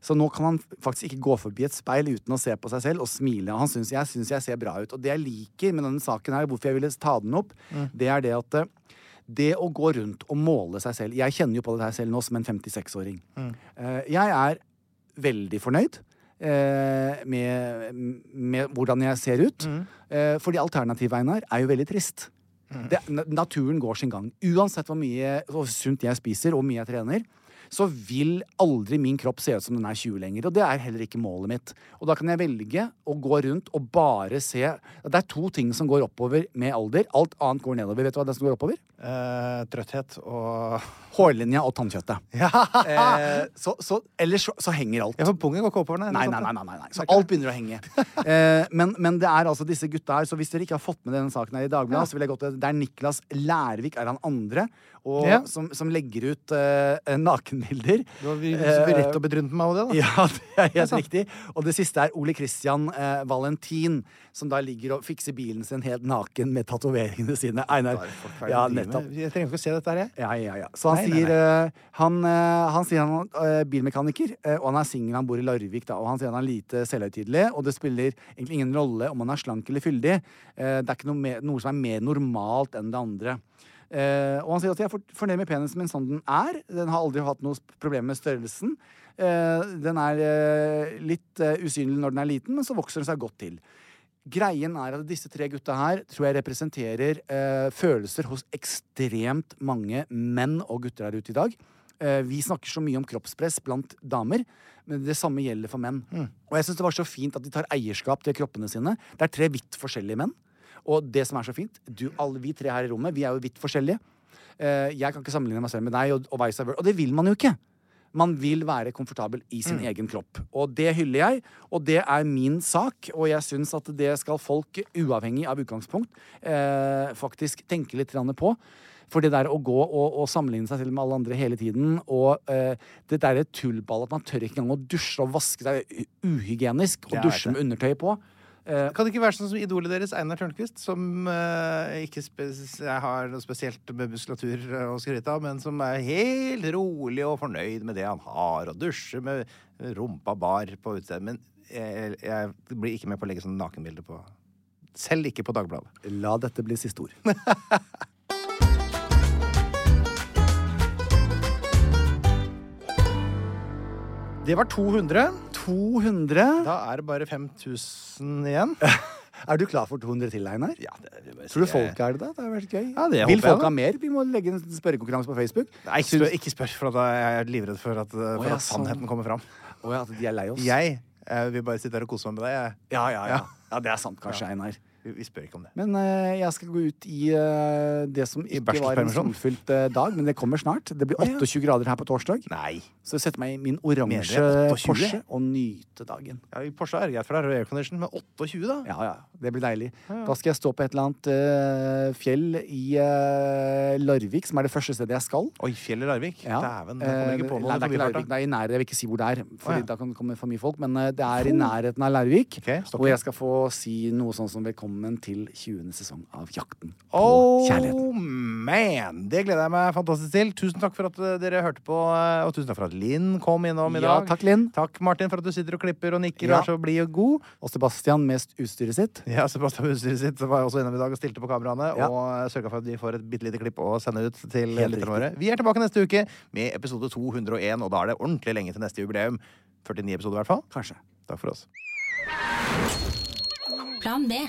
Så nå kan han faktisk ikke gå forbi et speil uten å se på seg selv og smile. Han synes, jeg syns jeg ser bra ut. Og det jeg liker med denne saken her, hvorfor jeg ville ta den opp, det er det at eh, det å gå rundt og måle seg selv Jeg kjenner jo på det her selv nå som en 56-åring. Eh, jeg er veldig fornøyd eh, med, med hvordan jeg ser ut. Eh, fordi alternativet, Einar, er jo veldig trist. Det, na- naturen går sin gang. Uansett hvor mye hvor sunt jeg spiser, og hvor mye jeg trener, så vil aldri min kropp se ut som den er 20 lenger. Og det er heller ikke målet mitt. Og da kan jeg velge å gå rundt og bare se Det er to ting som går oppover med alder. Alt annet går nedover. Vet du hva det er som går oppover? Eh, trøtthet og Hårlinja og tannkjøttet. Eh, så, så, ellers så, så henger alt. Ja, for pungen går ikke oppover, nei. Nei, nei, nei, nei, nei, nei. Så alt begynner å henge. Eh, men, men det er altså disse gutta her, så hvis dere ikke har fått med denne saken her i Dagbladet, så vil jeg gå til Det er Niklas Lærvik, er han andre, og, Ja. som, som legger ut eh, nakenbilder. Du har vi- Eh, rett og bedrunnet meg over det, da. ja, (laughs) det er helt riktig. Og det siste er Ole Christian eh, Valentin, som da ligger og fikser bilen sin helt naken med tatoveringene sine. Einar. Ja, nettopp. Jeg trenger ikke å se dette her, jeg. Ja, ja, ja. Så han Nei, nei, sier eh, han, eh, han sier han er bilmekaniker, eh, og han er singel, han bor i Larvik, da, og han sier han er lite selvhøytidelig, og det spiller egentlig ingen rolle om han er slank eller fyldig. Eh, det er ikke noe, mer, noe som er mer normalt enn det andre. Eh, og han sier at jeg er for- fornøyd med penisen min som den er. Den har aldri hatt noe sp- problem med størrelsen. Eh, den er eh, litt eh, usynlig når den er liten, men så vokser den seg godt til. Greien er at disse tre gutta her tror jeg representerer eh, følelser hos ekstremt mange menn og gutter der ute i dag. Eh, vi snakker så mye om kroppspress blant damer, men det samme gjelder for menn. Og jeg syns det var så fint at de tar eierskap til kroppene sine. Det er tre vidt forskjellige menn. Og det som er så fint, du, alle vi tre her i rommet, vi er jo vidt forskjellige. Eh, jeg kan ikke sammenligne meg selv med deg, og, og vice versa. Og det vil man jo ikke. Man vil være komfortabel i Mm. sin egen kropp. Og det hyller jeg, og det er min sak. Og jeg syns at det skal folk, uavhengig av utgangspunkt, eh, faktisk tenke litt grann på. For det der å gå og, og sammenligne seg selv med alle andre hele tiden, og eh, det derre tullballet at man tør ikke engang å dusje og vaske seg det er uhygienisk, og Jeg vet dusje med undertøy på Kan det ikke være sånn som idolet deres, Einar Tørnquist, som eh, ikke spes jeg har noe spesielt med muskulatur eh, å skryte av, men som er helt rolig og fornøyd med det han har, og dusjer med rumpa bar på utstedet. Men jeg, jeg blir ikke med på å legge sånne nakenbilder på Selv ikke på Dagbladet. La dette bli siste ord. (laughs) Det var 200. 200. Da er det bare 5000 (laughs) igjen. Er du klar for 200 til, Einar? Ja, det vil jeg bare Tror du si. folk er det? da? Det har vært gøy. Ja, det Vil håper jeg folk da. ha mer? Vi må legge en spørrekonkurranse på Facebook. Nei, ikke spør, ikke spør, for at jeg er livredd for at, eh, for ja, at sannheten sånn. kommer fram. Å ja, at de er lei oss. Jeg eh, vil bare sitte her og kose meg med deg. Jeg. Ja, ja, ja. ja, det er sant kanskje, Einar. Vi, vi spør ikke om det. Men eh, jeg skal gå ut i eh, det som ikke var en barselspermisjon. solfylt eh, dag, men det kommer snart. Det blir 28 grader her på torsdag. Nei. Så jeg setter meg i min Mener oransje jeg 28? Porsche og nyter dagen. Ja, I Porsche er det greit, for der er det aircondition. Men 28, da? Ja, ja. Det blir deilig. Da skal jeg stå på et eller annet eh, fjell i eh, Larvik, som er det første stedet jeg skal. Oi, fjellet Larvik. Ja. Dæven, jeg kommer jeg ikke på Eh, nei, noe. det er ikke forbifarta. Larvik, det er i nærheten. Jeg vil ikke si hvor det er, for Å, ja. da kan det komme for mye folk. Men eh, det er i nærheten av Larvik, Ok, stopp. hvor jeg skal få si noe sånn som 'Velkommen velkommen til 20. sesong av Jakten på Oh kjærligheten. man! Det gleder jeg meg fantastisk til. Tusen takk for at eh, dere hørte på, eh, og tusen takk for at Linn kom innom i Ja, dag. takk, Linn. Takk, Martin, for at du sitter og klipper og nikker Ja. og er så blid og god. Og Sebastian mest utstyret sitt. Ja, Sebastian med utstyret sitt var også innom i dag og stilte på kameraene. Ja. Og sørga for at vi får et bitte lite klipp å sende ut til Helt lytterne våre. Vi er tilbake neste uke med episode 201, og da er det ordentlig lenge til neste jubileum. 49 episoder, i hvert fall. Kanskje. Takk for oss. Plan B.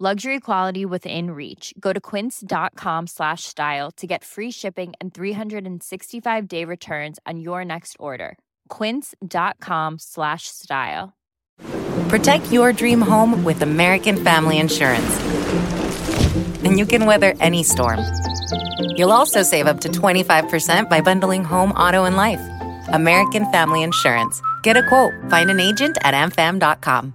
Luxury quality within reach. Go to quince.com slash style to get free shipping and 365 day returns on your next order. Quince.com slash style. Protect your dream home with American Family Insurance. And you can weather any storm. You'll also save up to 25% by bundling home, auto, and life. American Family Insurance. Get a quote, find an agent at amfam.com.